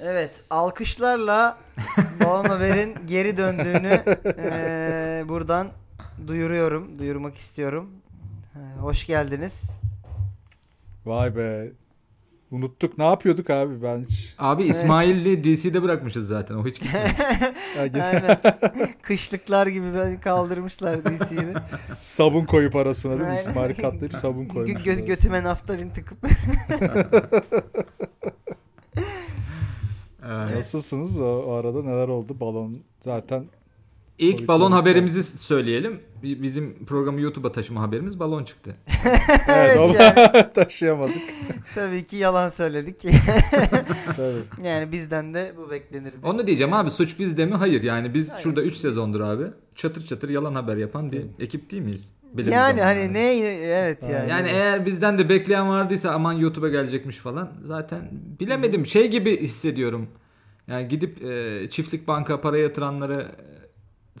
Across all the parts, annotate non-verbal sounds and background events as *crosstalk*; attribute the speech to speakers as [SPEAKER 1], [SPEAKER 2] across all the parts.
[SPEAKER 1] Evet, alkışlarla Balon Haber'in geri döndüğünü eee, buradan duyuruyorum, duyurmak istiyorum. Ee, Hoş geldiniz.
[SPEAKER 2] Vay be. Unuttuk. Ne yapıyorduk abi ben hiç.
[SPEAKER 3] Abi İsmail'i DC'de bırakmışız zaten. O
[SPEAKER 1] *laughs*
[SPEAKER 3] hiç gitmiyor.
[SPEAKER 2] Ya gene
[SPEAKER 1] Aynen. *laughs* Kışlıklar gibi beni kaldırmışlar DC'yi.
[SPEAKER 2] sabun koyup arasına değil mi?
[SPEAKER 1] Aynen.
[SPEAKER 2] İsmail katlayıp sabun koymuş.
[SPEAKER 1] Gö- gö- götüme naftalin tıkıp.
[SPEAKER 3] Evet.
[SPEAKER 2] Nasılsınız? O, o arada neler oldu? Balon zaten
[SPEAKER 3] İlk
[SPEAKER 2] Covid
[SPEAKER 3] balon
[SPEAKER 2] oldu.
[SPEAKER 3] haberimizi söyleyelim. Bi- Bizim programı YouTube'a taşıma haberimiz balon çıktı.
[SPEAKER 2] evet,
[SPEAKER 1] *laughs* Evet
[SPEAKER 2] ama
[SPEAKER 1] yani.
[SPEAKER 2] *laughs* taşıyamadık.
[SPEAKER 1] Tabii ki yalan söyledik. *laughs*
[SPEAKER 2] Tabii.
[SPEAKER 1] yani bizden de bu beklenirdi.
[SPEAKER 3] Onu diyeceğim abi suç bizde mi? Hayır yani biz
[SPEAKER 1] Hayır.
[SPEAKER 3] şurada 3 sezondur abi çatır çatır yalan haber yapan bir ekip değil miyiz? Belirli
[SPEAKER 1] yani
[SPEAKER 3] zamanlarda.
[SPEAKER 1] hani ne evet yani.
[SPEAKER 3] Yani eğer bizden de bekleyen vardıysa aman YouTube'a gelecekmiş falan zaten bilemedim şey gibi hissediyorum. Yani gidip e, çiftlik banka para yatıranları e,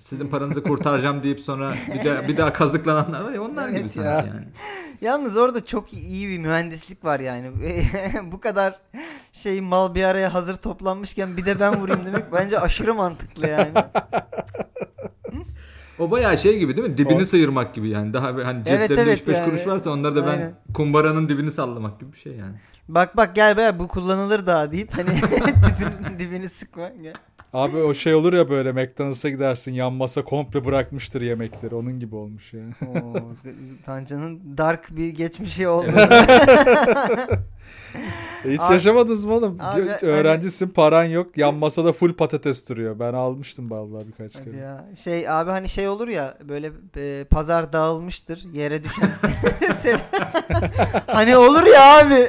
[SPEAKER 3] sizin paranızı kurtaracağım deyip sonra bir daha, bir daha kazıklananlar var ya onlar gibi
[SPEAKER 1] Evet
[SPEAKER 3] sanki
[SPEAKER 1] ya.
[SPEAKER 3] yani.
[SPEAKER 1] Yalnız orada çok iyi bir mühendislik var yani. *laughs* Bu kadar şey mal bir araya hazır toplanmışken bir de ben vurayım demek bence aşırı mantıklı yani.
[SPEAKER 3] O bayağı şey gibi değil mi? Dibini
[SPEAKER 2] O-
[SPEAKER 3] sıyırmak gibi yani. Daha bir- hani
[SPEAKER 1] Evet,
[SPEAKER 3] ceplerinde 3-5
[SPEAKER 1] evet yani.
[SPEAKER 3] kuruş varsa onları da ben
[SPEAKER 1] Aynen.
[SPEAKER 3] kumbaranın dibini sallamak gibi bir şey yani.
[SPEAKER 1] Bak bak gel be bu kullanılır daha deyip hani *laughs* tüpün dibini sıkma. Gel.
[SPEAKER 2] Abi o şey olur ya böyle McDonald's'a gidersin yan masa komple bırakmıştır yemekleri. Onun gibi olmuş yani.
[SPEAKER 1] Oo, Tancan'ın dark bir geçmişi oldu.
[SPEAKER 2] E Hiç
[SPEAKER 1] Abi-
[SPEAKER 2] yaşamadınız mı oğlum?
[SPEAKER 1] Abi,
[SPEAKER 2] Diyor-
[SPEAKER 1] hani-
[SPEAKER 2] Öğrencisin paran yok. Yan masada full patates duruyor. Ben almıştım vallahi birkaç
[SPEAKER 1] Hadi
[SPEAKER 2] kere.
[SPEAKER 1] ya. Şey abi hani şey olur ya böyle e, pazar dağılmıştır yere düşen. *laughs* Sebze- hani olur ya abi.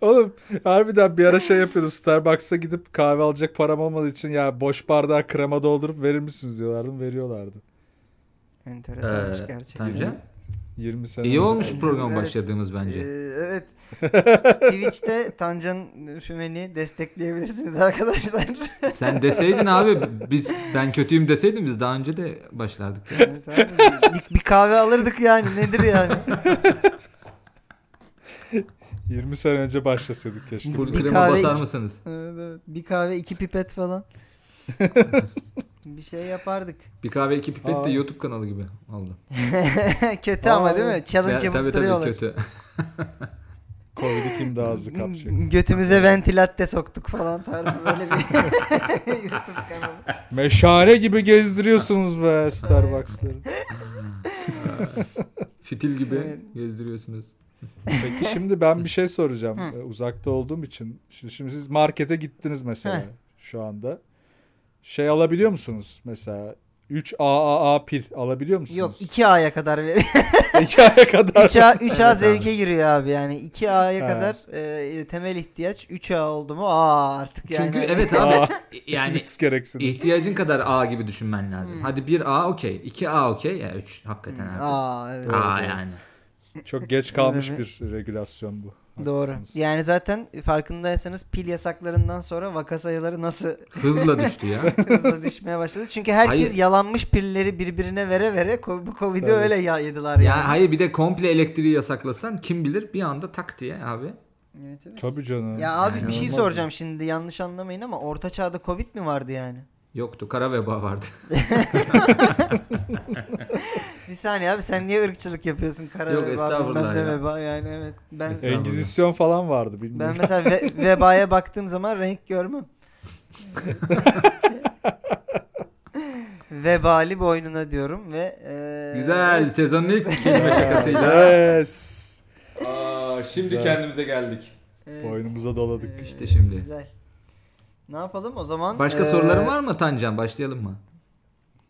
[SPEAKER 2] Oğlum harbiden bir ara şey yapıyordum. Starbucks'a gidip kahve alacak param olmadığı için ya boş bardağa krema doldurup verir misiniz diyorlardım. Veriyorlardı.
[SPEAKER 1] Enteresanmış
[SPEAKER 3] Ee,
[SPEAKER 1] gerçekten.
[SPEAKER 3] Tancan.
[SPEAKER 2] 20 sene
[SPEAKER 3] İyi
[SPEAKER 2] önce.
[SPEAKER 3] olmuş program
[SPEAKER 1] Evet.
[SPEAKER 3] başladığımız bence.
[SPEAKER 1] Ee,
[SPEAKER 3] *laughs*
[SPEAKER 1] evet. Twitch'te Tancan Fümen'i destekleyebilirsiniz arkadaşlar. *laughs*
[SPEAKER 3] Sen deseydin abi biz ben kötüyüm deseydin biz daha önce de başlardık. ya.
[SPEAKER 1] Evet abi, bir, bir kahve alırdık yani nedir
[SPEAKER 3] *laughs*
[SPEAKER 1] yani.
[SPEAKER 2] 20 sene önce başlasaydık keşke.
[SPEAKER 3] Full
[SPEAKER 2] Bir-
[SPEAKER 3] krema
[SPEAKER 1] kahve-
[SPEAKER 3] basar mısınız?
[SPEAKER 1] Evet, evet. Bir kahve iki pipet
[SPEAKER 3] *laughs*
[SPEAKER 1] falan. bir şey yapardık. *laughs*
[SPEAKER 3] Bir kahve iki pipet
[SPEAKER 2] Aa.
[SPEAKER 3] de YouTube kanalı gibi oldu.
[SPEAKER 1] kötü ama değil mi?
[SPEAKER 3] Ya,
[SPEAKER 1] Challenge
[SPEAKER 3] tabii tabii
[SPEAKER 1] yaptırıyorlar.
[SPEAKER 3] kötü. *laughs*
[SPEAKER 2] Covid'i kim daha hızlı kapacak?
[SPEAKER 1] Götümüze ventilatte soktuk falan tarzı
[SPEAKER 3] *laughs*
[SPEAKER 1] böyle bir *laughs* YouTube kanalı.
[SPEAKER 2] Meşale gibi gezdiriyorsunuz be
[SPEAKER 3] *laughs*
[SPEAKER 2] Starbucks'ları.
[SPEAKER 3] Fitil gibi
[SPEAKER 1] Evet.
[SPEAKER 3] gezdiriyorsunuz.
[SPEAKER 2] Peki şimdi ben bir şey soracağım. Ee, Uzakta olduğum için. Şimdi, şimdi siz markete gittiniz mesela
[SPEAKER 1] Heh.
[SPEAKER 2] şu anda. Şey alabiliyor musunuz mesela? 3 AAA pil alabiliyor musunuz? *laughs*
[SPEAKER 1] Yok 2A'ya kadar ver.
[SPEAKER 2] 2 aya kadar.
[SPEAKER 1] 3A, 3A
[SPEAKER 3] Evet abi.
[SPEAKER 1] zevke giriyor abi yani. 2A'ya
[SPEAKER 2] Ha.
[SPEAKER 1] kadar e, temel ihtiyaç 3A oldu mu aa artık yani. hani-
[SPEAKER 3] Çünkü evet
[SPEAKER 2] *laughs* *laughs* Aa.
[SPEAKER 3] abi yani
[SPEAKER 2] Lüks gereksinimi.
[SPEAKER 3] *laughs* ihtiyacın kadar A gibi düşünmen lazım.
[SPEAKER 1] Hmm.
[SPEAKER 3] Hadi bir A okey, iki A okey, ya üç hakikaten artık.
[SPEAKER 1] Aa evet.
[SPEAKER 3] A
[SPEAKER 2] doğru.
[SPEAKER 3] yani.
[SPEAKER 2] Çok geç kalmış
[SPEAKER 1] Öyle
[SPEAKER 2] bir regülasyon bu.
[SPEAKER 1] Doğru.
[SPEAKER 2] Haklısınız.
[SPEAKER 1] Yani zaten farkındaysanız pil yasaklarından sonra vaka sayıları nasıl *laughs*
[SPEAKER 3] Hızla düştü ya.
[SPEAKER 1] hızla düşmeye başladı. Çünkü herkes
[SPEAKER 3] Hayır.
[SPEAKER 1] yalanmış pilleri birbirine vere vere co- bu Covid'i
[SPEAKER 2] Tabii.
[SPEAKER 1] öyle ya yediler yani.
[SPEAKER 3] Ya hayır bir de komple elektriği yasaklasan kim bilir bir anda tak diye abi.
[SPEAKER 1] Evet, evet.
[SPEAKER 2] Tabii canım.
[SPEAKER 1] Ya abi
[SPEAKER 3] Yani
[SPEAKER 1] bir şey
[SPEAKER 2] olmaz
[SPEAKER 1] soracağım şimdi yanlış anlamayın ama orta çağda Covid mi vardı yani?
[SPEAKER 3] Yoktu kara
[SPEAKER 1] *laughs*
[SPEAKER 3] veba vardı.
[SPEAKER 1] Bir saniye abi sen niye ırkçılık yapıyorsun? Kara
[SPEAKER 3] Yok,
[SPEAKER 1] veba,
[SPEAKER 3] estağfurullah
[SPEAKER 1] bilmem ne
[SPEAKER 3] ya.
[SPEAKER 1] veba yani evet. Ben
[SPEAKER 3] Estağfurullah.
[SPEAKER 2] Engizisyon falan vardı
[SPEAKER 1] ben
[SPEAKER 2] bilmiyorum.
[SPEAKER 1] mesela
[SPEAKER 2] *laughs*
[SPEAKER 1] ve- vebaya baktığım zaman renk görmem. Vebali boynuna diyorum ve e, eee,
[SPEAKER 3] Güzel
[SPEAKER 1] *laughs*
[SPEAKER 3] sezonun ilk kelime şakasıyla.
[SPEAKER 2] *laughs* Yes.
[SPEAKER 3] Aa, şimdi
[SPEAKER 2] Güzel.
[SPEAKER 3] kendimize geldik.
[SPEAKER 1] evet,
[SPEAKER 2] Boynumuza doladık.
[SPEAKER 1] eee,
[SPEAKER 3] İşte şimdi.
[SPEAKER 1] Güzel. Ne yapalım o zaman?
[SPEAKER 3] Başka
[SPEAKER 1] eee,
[SPEAKER 3] soruların var mı Tancan? Başlayalım mı?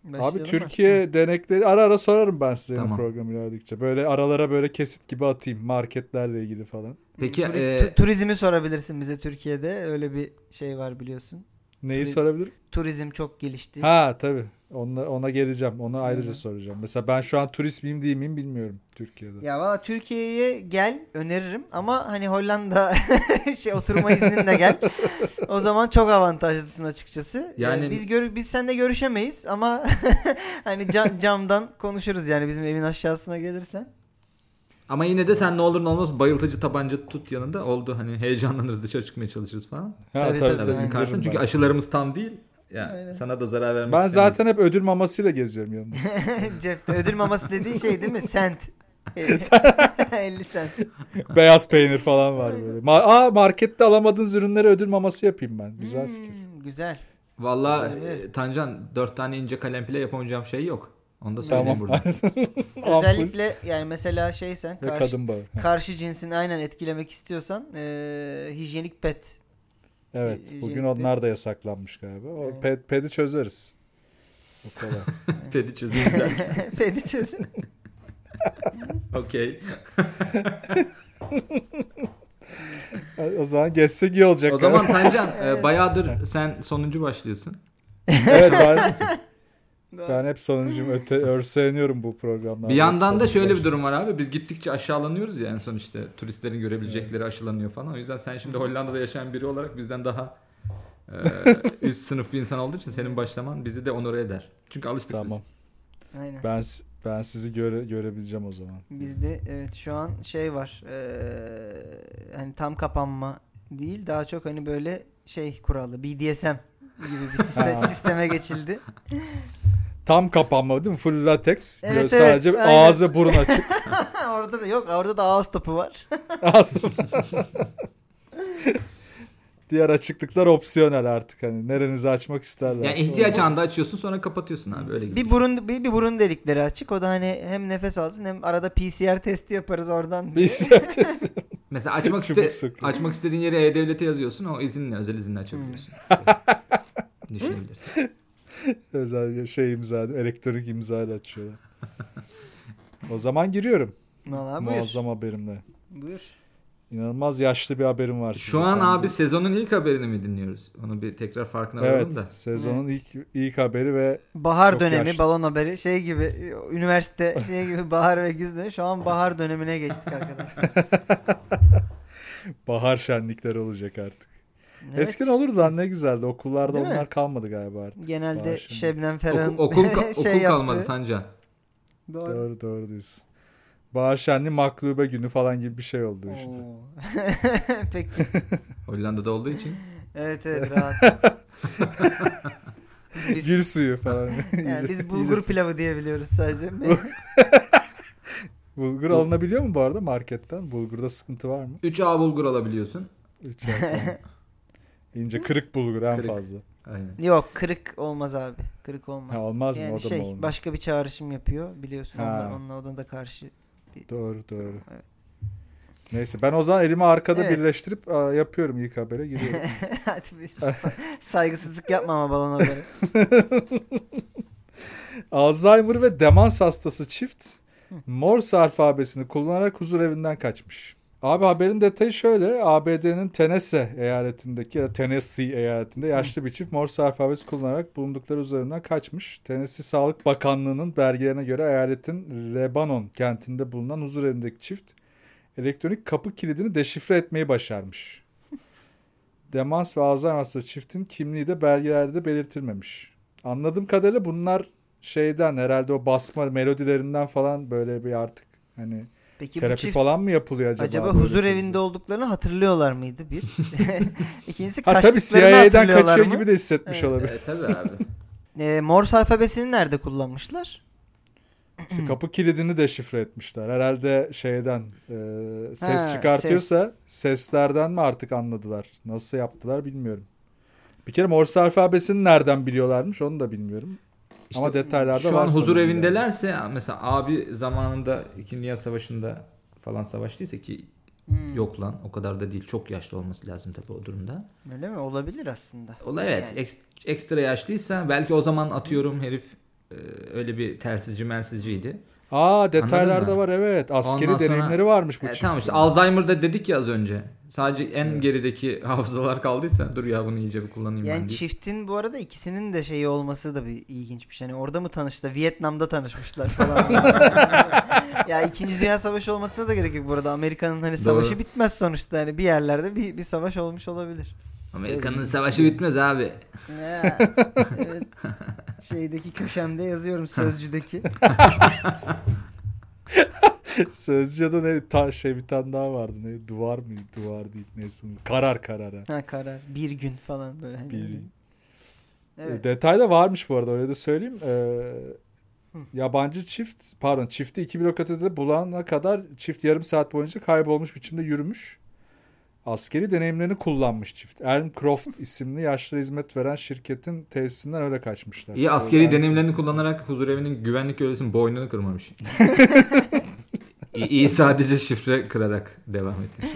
[SPEAKER 1] başlayalım
[SPEAKER 2] Abi
[SPEAKER 1] mı?
[SPEAKER 2] Türkiye denekleri ara ara sorarım ben size
[SPEAKER 3] Tamam.
[SPEAKER 2] programı program ilerledikçe. Böyle aralara böyle kesit gibi atayım marketlerle ilgili falan.
[SPEAKER 3] Peki
[SPEAKER 1] Turiz-
[SPEAKER 3] e,
[SPEAKER 1] tu- turizmi sorabilirsin bize Türkiye'de. Öyle bir şey var biliyorsun.
[SPEAKER 2] Neyi
[SPEAKER 1] Tabii.
[SPEAKER 2] sorabilirim?
[SPEAKER 1] Turizm çok gelişti.
[SPEAKER 2] Ha tabii. Ona, ona geleceğim. Ona ayrıca
[SPEAKER 1] Hı hı.
[SPEAKER 2] soracağım. Mesela ben şu an turist miyim değil miyim bilmiyorum Türkiye'de.
[SPEAKER 1] Ya valla Türkiye'ye gel öneririm ama hani Hollanda *laughs* şey oturma izninle
[SPEAKER 2] *laughs*
[SPEAKER 1] gel. O zaman çok avantajlısın açıkçası. Yani
[SPEAKER 3] Yani-
[SPEAKER 1] biz gör biz seninle görüşemeyiz *laughs* *laughs* ama hani ca- camdan konuşuruz yani bizim evin aşağısına gelirsen.
[SPEAKER 3] Ama yine de sen ne olur ne olmaz bayıltıcı tabanca tut yanında oldu. Hani heyecanlanırız dışarı çıkmaya çalışırız falan.
[SPEAKER 2] Ha,
[SPEAKER 1] Tabii, tabii,
[SPEAKER 3] Tabii
[SPEAKER 1] Zincirim
[SPEAKER 3] karşısın.
[SPEAKER 2] ben
[SPEAKER 3] Çünkü
[SPEAKER 2] sana.
[SPEAKER 3] aşılarımız tam değil. Yani
[SPEAKER 1] Aynen.
[SPEAKER 3] sana da zarar vermek
[SPEAKER 2] Ben
[SPEAKER 3] istemeyiz.
[SPEAKER 2] zaten hep ödül mamasıyla geziyorum yalnız.
[SPEAKER 1] Cepte ödül maması dediğin şey değil mi?
[SPEAKER 2] *laughs*
[SPEAKER 1] Sent. 50 sent.
[SPEAKER 2] Beyaz peynir falan var böyle. Ma- Aa markette alamadığınız ürünlere ödül maması yapayım ben. Güzel fikir.
[SPEAKER 1] Hmm, güzel.
[SPEAKER 3] Valla
[SPEAKER 1] Güzel.
[SPEAKER 3] e, Tancan dört tane ince kalem bile yapamayacağım şey yok. Onu da söyleyeyim
[SPEAKER 2] Tamam.
[SPEAKER 3] burada.
[SPEAKER 2] *laughs* Ampul
[SPEAKER 1] Özellikle yani mesela şey sen
[SPEAKER 2] ve
[SPEAKER 1] karşı,
[SPEAKER 2] kadın bağı. Ha,
[SPEAKER 1] karşı cinsini aynen etkilemek istiyorsan eee hijyenik pet. *laughs*
[SPEAKER 2] Evet. Bugün
[SPEAKER 1] Yeni-
[SPEAKER 2] onlar da yasaklanmış galiba. O
[SPEAKER 1] Evet.
[SPEAKER 2] ped, pedi çözeriz. O kadar.
[SPEAKER 3] Pedi çözeyim de.
[SPEAKER 1] Pedi
[SPEAKER 2] *laughs*
[SPEAKER 1] çözün.
[SPEAKER 3] *laughs* Okey.
[SPEAKER 2] Ha, o zaman geçsek iyi olacak.
[SPEAKER 3] O zaman Tancan e, bayağıdır sen sonuncu başlıyorsun.
[SPEAKER 2] *laughs*
[SPEAKER 1] *laughs*
[SPEAKER 2] evet ben, ben hep sonuncum öte, örseğleniyorum bu programlarda.
[SPEAKER 3] Bir yandan da
[SPEAKER 2] Sonuncu
[SPEAKER 3] şöyle bir
[SPEAKER 2] baş-
[SPEAKER 3] durum var abi. Biz gittikçe aşağılanıyoruz ya en son işte turistlerin görebilecekleri aşılanıyor falan. O yüzden sen şimdi Hollanda'da yaşayan biri olarak bizden daha
[SPEAKER 2] *laughs*
[SPEAKER 3] e, üst sınıf bir insan olduğu için senin başlaman bizi de onur eder. Çünkü alıştık
[SPEAKER 2] Tamam.
[SPEAKER 1] Aynen.
[SPEAKER 2] Ben s- ben sizi göre, görebileceğim o zaman.
[SPEAKER 1] Bizde evet şu an şey var. eee, hani tam kapanma değil daha çok hani böyle şey kuralı BDSM gibi bir siste-
[SPEAKER 2] Ha.
[SPEAKER 1] sisteme geçildi.
[SPEAKER 2] Tam kapanma değil mi? Full latex.
[SPEAKER 1] Evet,
[SPEAKER 2] Böyle
[SPEAKER 1] evet,
[SPEAKER 2] sadece
[SPEAKER 1] aynen.
[SPEAKER 2] ağız ve burun açık.
[SPEAKER 1] orada da yok orada da ağız topu var.
[SPEAKER 2] Ağız- *laughs* Diğer açıklıklar opsiyonel artık hani nerenizi açmak isterler.
[SPEAKER 3] biz. Yani ihtiyaç anda açıyorsun sonra kapatıyorsun abi öyle gibi.
[SPEAKER 1] bir burun bir, bir burun delikleri açık. O da hani hem nefes alsın hem arada PCR testi yaparız oradan.
[SPEAKER 2] Bir *laughs* testi. *laughs*
[SPEAKER 3] Mesela açmak
[SPEAKER 2] Çubuk
[SPEAKER 3] iste
[SPEAKER 2] sokuyor.
[SPEAKER 3] açmak istediğin yere E-Devlet'e yazıyorsun. O izinle özel izinle açabiliyorsun.
[SPEAKER 2] Hmm. *laughs*
[SPEAKER 3] Düşünebilirsin.
[SPEAKER 2] Özel şey imza, elektronik imza açıyorlar. o zaman giriyorum.
[SPEAKER 1] Vallahi buyur.
[SPEAKER 2] Muazzam haberimle.
[SPEAKER 1] Buyur.
[SPEAKER 2] İnanılmaz yaşlı bir haberim var. size.
[SPEAKER 3] Şu an
[SPEAKER 2] Tam
[SPEAKER 3] abi
[SPEAKER 2] bir-
[SPEAKER 3] sezonun ilk haberini mi dinliyoruz? Onu bir tekrar farkına varalım
[SPEAKER 2] Evet,
[SPEAKER 3] da.
[SPEAKER 2] sezonun ilk ilk haberi ve
[SPEAKER 1] Bahar
[SPEAKER 2] Çok
[SPEAKER 1] dönemi
[SPEAKER 2] yaşlı.
[SPEAKER 1] balon haberi şey gibi üniversite şey gibi bahar ve güz dönemi. Şu an bahar dönemine geçtik arkadaşlar.
[SPEAKER 2] bahar şenlikleri olacak artık.
[SPEAKER 1] Evet.
[SPEAKER 2] Eskiden olurdu lan ne güzeldi. Okullarda
[SPEAKER 1] Değil mi?
[SPEAKER 2] onlar kalmadı galiba artık.
[SPEAKER 1] Genelde
[SPEAKER 2] Bahar şenliği.
[SPEAKER 1] Şebnem Ferah'ın
[SPEAKER 3] Oku-
[SPEAKER 1] *laughs*
[SPEAKER 3] okul ka-
[SPEAKER 1] şey
[SPEAKER 3] okul
[SPEAKER 1] yaptığı-
[SPEAKER 3] kalmadı Tancan.
[SPEAKER 1] Doğru.
[SPEAKER 2] Doğru doğru diyorsun. Bahar şenli maklube günü falan gibi bir şey oldu işte.
[SPEAKER 1] Oo. *laughs* Peki.
[SPEAKER 3] Hollanda'da olduğu için.
[SPEAKER 1] Evet evet
[SPEAKER 2] *laughs*
[SPEAKER 1] rahat. biz,
[SPEAKER 2] Gül suyu
[SPEAKER 1] *laughs*
[SPEAKER 2] falan. İyice-
[SPEAKER 1] yani biz bulgur
[SPEAKER 2] iyice sık-
[SPEAKER 1] pilavı diyebiliyoruz
[SPEAKER 2] *laughs*
[SPEAKER 1] sadece.
[SPEAKER 2] Bulgur alınabiliyor mu bu arada marketten? Bulgurda sıkıntı var mı?
[SPEAKER 3] 3A bulgur alabiliyorsun.
[SPEAKER 2] Üç ay
[SPEAKER 1] *laughs*
[SPEAKER 2] falan. İnce kırık bulgur en
[SPEAKER 3] Kırık.
[SPEAKER 2] fazla.
[SPEAKER 3] Aynen.
[SPEAKER 1] Yok kırık olmaz abi. Kırık olmaz.
[SPEAKER 2] Ha, olmaz mı?
[SPEAKER 1] yani
[SPEAKER 2] O da mı
[SPEAKER 1] şey
[SPEAKER 2] olmaz?
[SPEAKER 1] başka bir çağrışım yapıyor biliyorsun.
[SPEAKER 2] Ha.
[SPEAKER 1] Onunla, onunla odan da karşı. *laughs*
[SPEAKER 2] Doğru doğru.
[SPEAKER 1] Evet.
[SPEAKER 2] Neyse ben o zaman elimi arkada
[SPEAKER 1] Evet.
[SPEAKER 2] birleştirip aa, yapıyorum ilk habere gidiyorum.
[SPEAKER 1] Hadi bir sa- saygısızlık yapma ama balon haberi.
[SPEAKER 2] Alzheimer ve demans hastası çift Morse alfabesini kullanarak huzur evinden kaçmış. Abi haberin detayı şöyle. ABD'nin Tennessee eyaletindeki ya da Tennessee eyaletinde yaşlı bir çift Morse alfabesi kullanarak bulundukları huzur evinden kaçmış. Tennessee Sağlık Bakanlığı'nın belgelerine göre eyaletin Lebanon kentinde bulunan huzur evindeki çift elektronik kapı kilidini deşifre etmeyi başarmış. Demans ve Alzheimer hastası çiftin kimliği de belgelerde belirtilmemiş. Anladığım kadarıyla bunlar şeyden herhalde o basma melodilerinden falan böyle bir artık hani
[SPEAKER 1] Peki bu
[SPEAKER 2] terapi
[SPEAKER 1] çift
[SPEAKER 2] falan mı yapılıyor acaba?
[SPEAKER 1] acaba
[SPEAKER 2] böyle
[SPEAKER 1] huzur
[SPEAKER 2] çocuklar?
[SPEAKER 1] evinde olduklarını hatırlıyorlar mıydı
[SPEAKER 2] *laughs*
[SPEAKER 1] bir? *laughs* İkincisi
[SPEAKER 2] Ha tabii
[SPEAKER 1] kaçtıklarını
[SPEAKER 2] CIA'den
[SPEAKER 1] hatırlıyorlar
[SPEAKER 2] kaçıyor
[SPEAKER 1] mı?
[SPEAKER 2] gibi de hissetmiş
[SPEAKER 1] Evet.
[SPEAKER 2] olabilir.
[SPEAKER 3] E, tabii abi.
[SPEAKER 1] *laughs* Ee, Morse alfabesini nerede kullanmışlar?
[SPEAKER 2] İşte kapı kilidini deşifre etmişler. Herhalde şeyden e, ses
[SPEAKER 1] Ha,
[SPEAKER 2] çıkartıyorsa seslerden mi artık anladılar? Nasıl yaptılar bilmiyorum. Bir kere Morse alfabesini nereden biliyorlarmış onu da bilmiyorum.
[SPEAKER 3] İşte
[SPEAKER 2] Ama detaylarda
[SPEAKER 3] Şu
[SPEAKER 2] var
[SPEAKER 3] an huzur
[SPEAKER 2] sanırım yani.
[SPEAKER 3] evindelerse mesela abi zamanında 2. Dünya Savaşı'nda falan savaştıysa ki
[SPEAKER 1] Hmm.
[SPEAKER 3] yok lan o kadar da değil. Çok yaşlı olması lazım tabii o durumda.
[SPEAKER 1] Hmm, Öyle mi? Olabilir aslında.
[SPEAKER 3] Olay evet
[SPEAKER 1] Yani.
[SPEAKER 3] ek- ekstra yaşlıysa belki o zaman atıyorum herif e, öyle bir telsizci mensizciydi.
[SPEAKER 2] Aa detaylarda
[SPEAKER 3] mı?
[SPEAKER 2] var evet. Askeri
[SPEAKER 3] Ondan sonra-
[SPEAKER 2] deneyimleri varmış bu
[SPEAKER 3] E,
[SPEAKER 2] çiftin.
[SPEAKER 3] tamam işte Alzheimer'da dedik ya az önce. Sadece en gerideki *laughs* hafızalar kaldıysa dur ya bunu iyice bir kullanayım ben
[SPEAKER 1] Yani
[SPEAKER 3] diye.
[SPEAKER 1] çiftin bu arada ikisinin de şeyi olması da bir ilginç bir şey. Hani orada mı tanıştı? Vietnam'da tanışmışlar falan. ya İkinci Dünya Savaşı olmasına da gerek yok bu arada. Amerika'nın hani savaşı
[SPEAKER 3] Doğru.
[SPEAKER 1] bitmez sonuçta. Hani bir yerlerde bir, bir savaş olmuş olabilir.
[SPEAKER 3] Amerika'nın savaşı bitmez abi.
[SPEAKER 1] Ya, evet. Şeydeki köşemde yazıyorum sözcüdeki.
[SPEAKER 2] Sözcü'de ne ta, şey bir tane daha vardı. Ne, duvar mı? Duvar değil. Neyse. Karar karar. ha.
[SPEAKER 1] Ha karar. Bir gün falan böyle. hani.
[SPEAKER 2] Bir-
[SPEAKER 1] Evet.
[SPEAKER 2] E, Detay da varmış bu arada öyle de söyleyeyim. Ee, yabancı çift pardon çifti 2 blok ötede bulana kadar çift yarım saat boyunca kaybolmuş biçimde yürümüş. Askeri deneyimlerini kullanmış çift. Elm Croft isimli yaşlı hizmet veren şirketin tesisinden öyle kaçmışlar.
[SPEAKER 3] İyi askeri
[SPEAKER 2] Öyle-
[SPEAKER 3] deneyimlerini kullanarak huzurevinin güvenlik görevlisinin boynunu kırmamış.
[SPEAKER 2] *laughs*
[SPEAKER 3] iyi, iyi sadece şifre kırarak devam etmiş.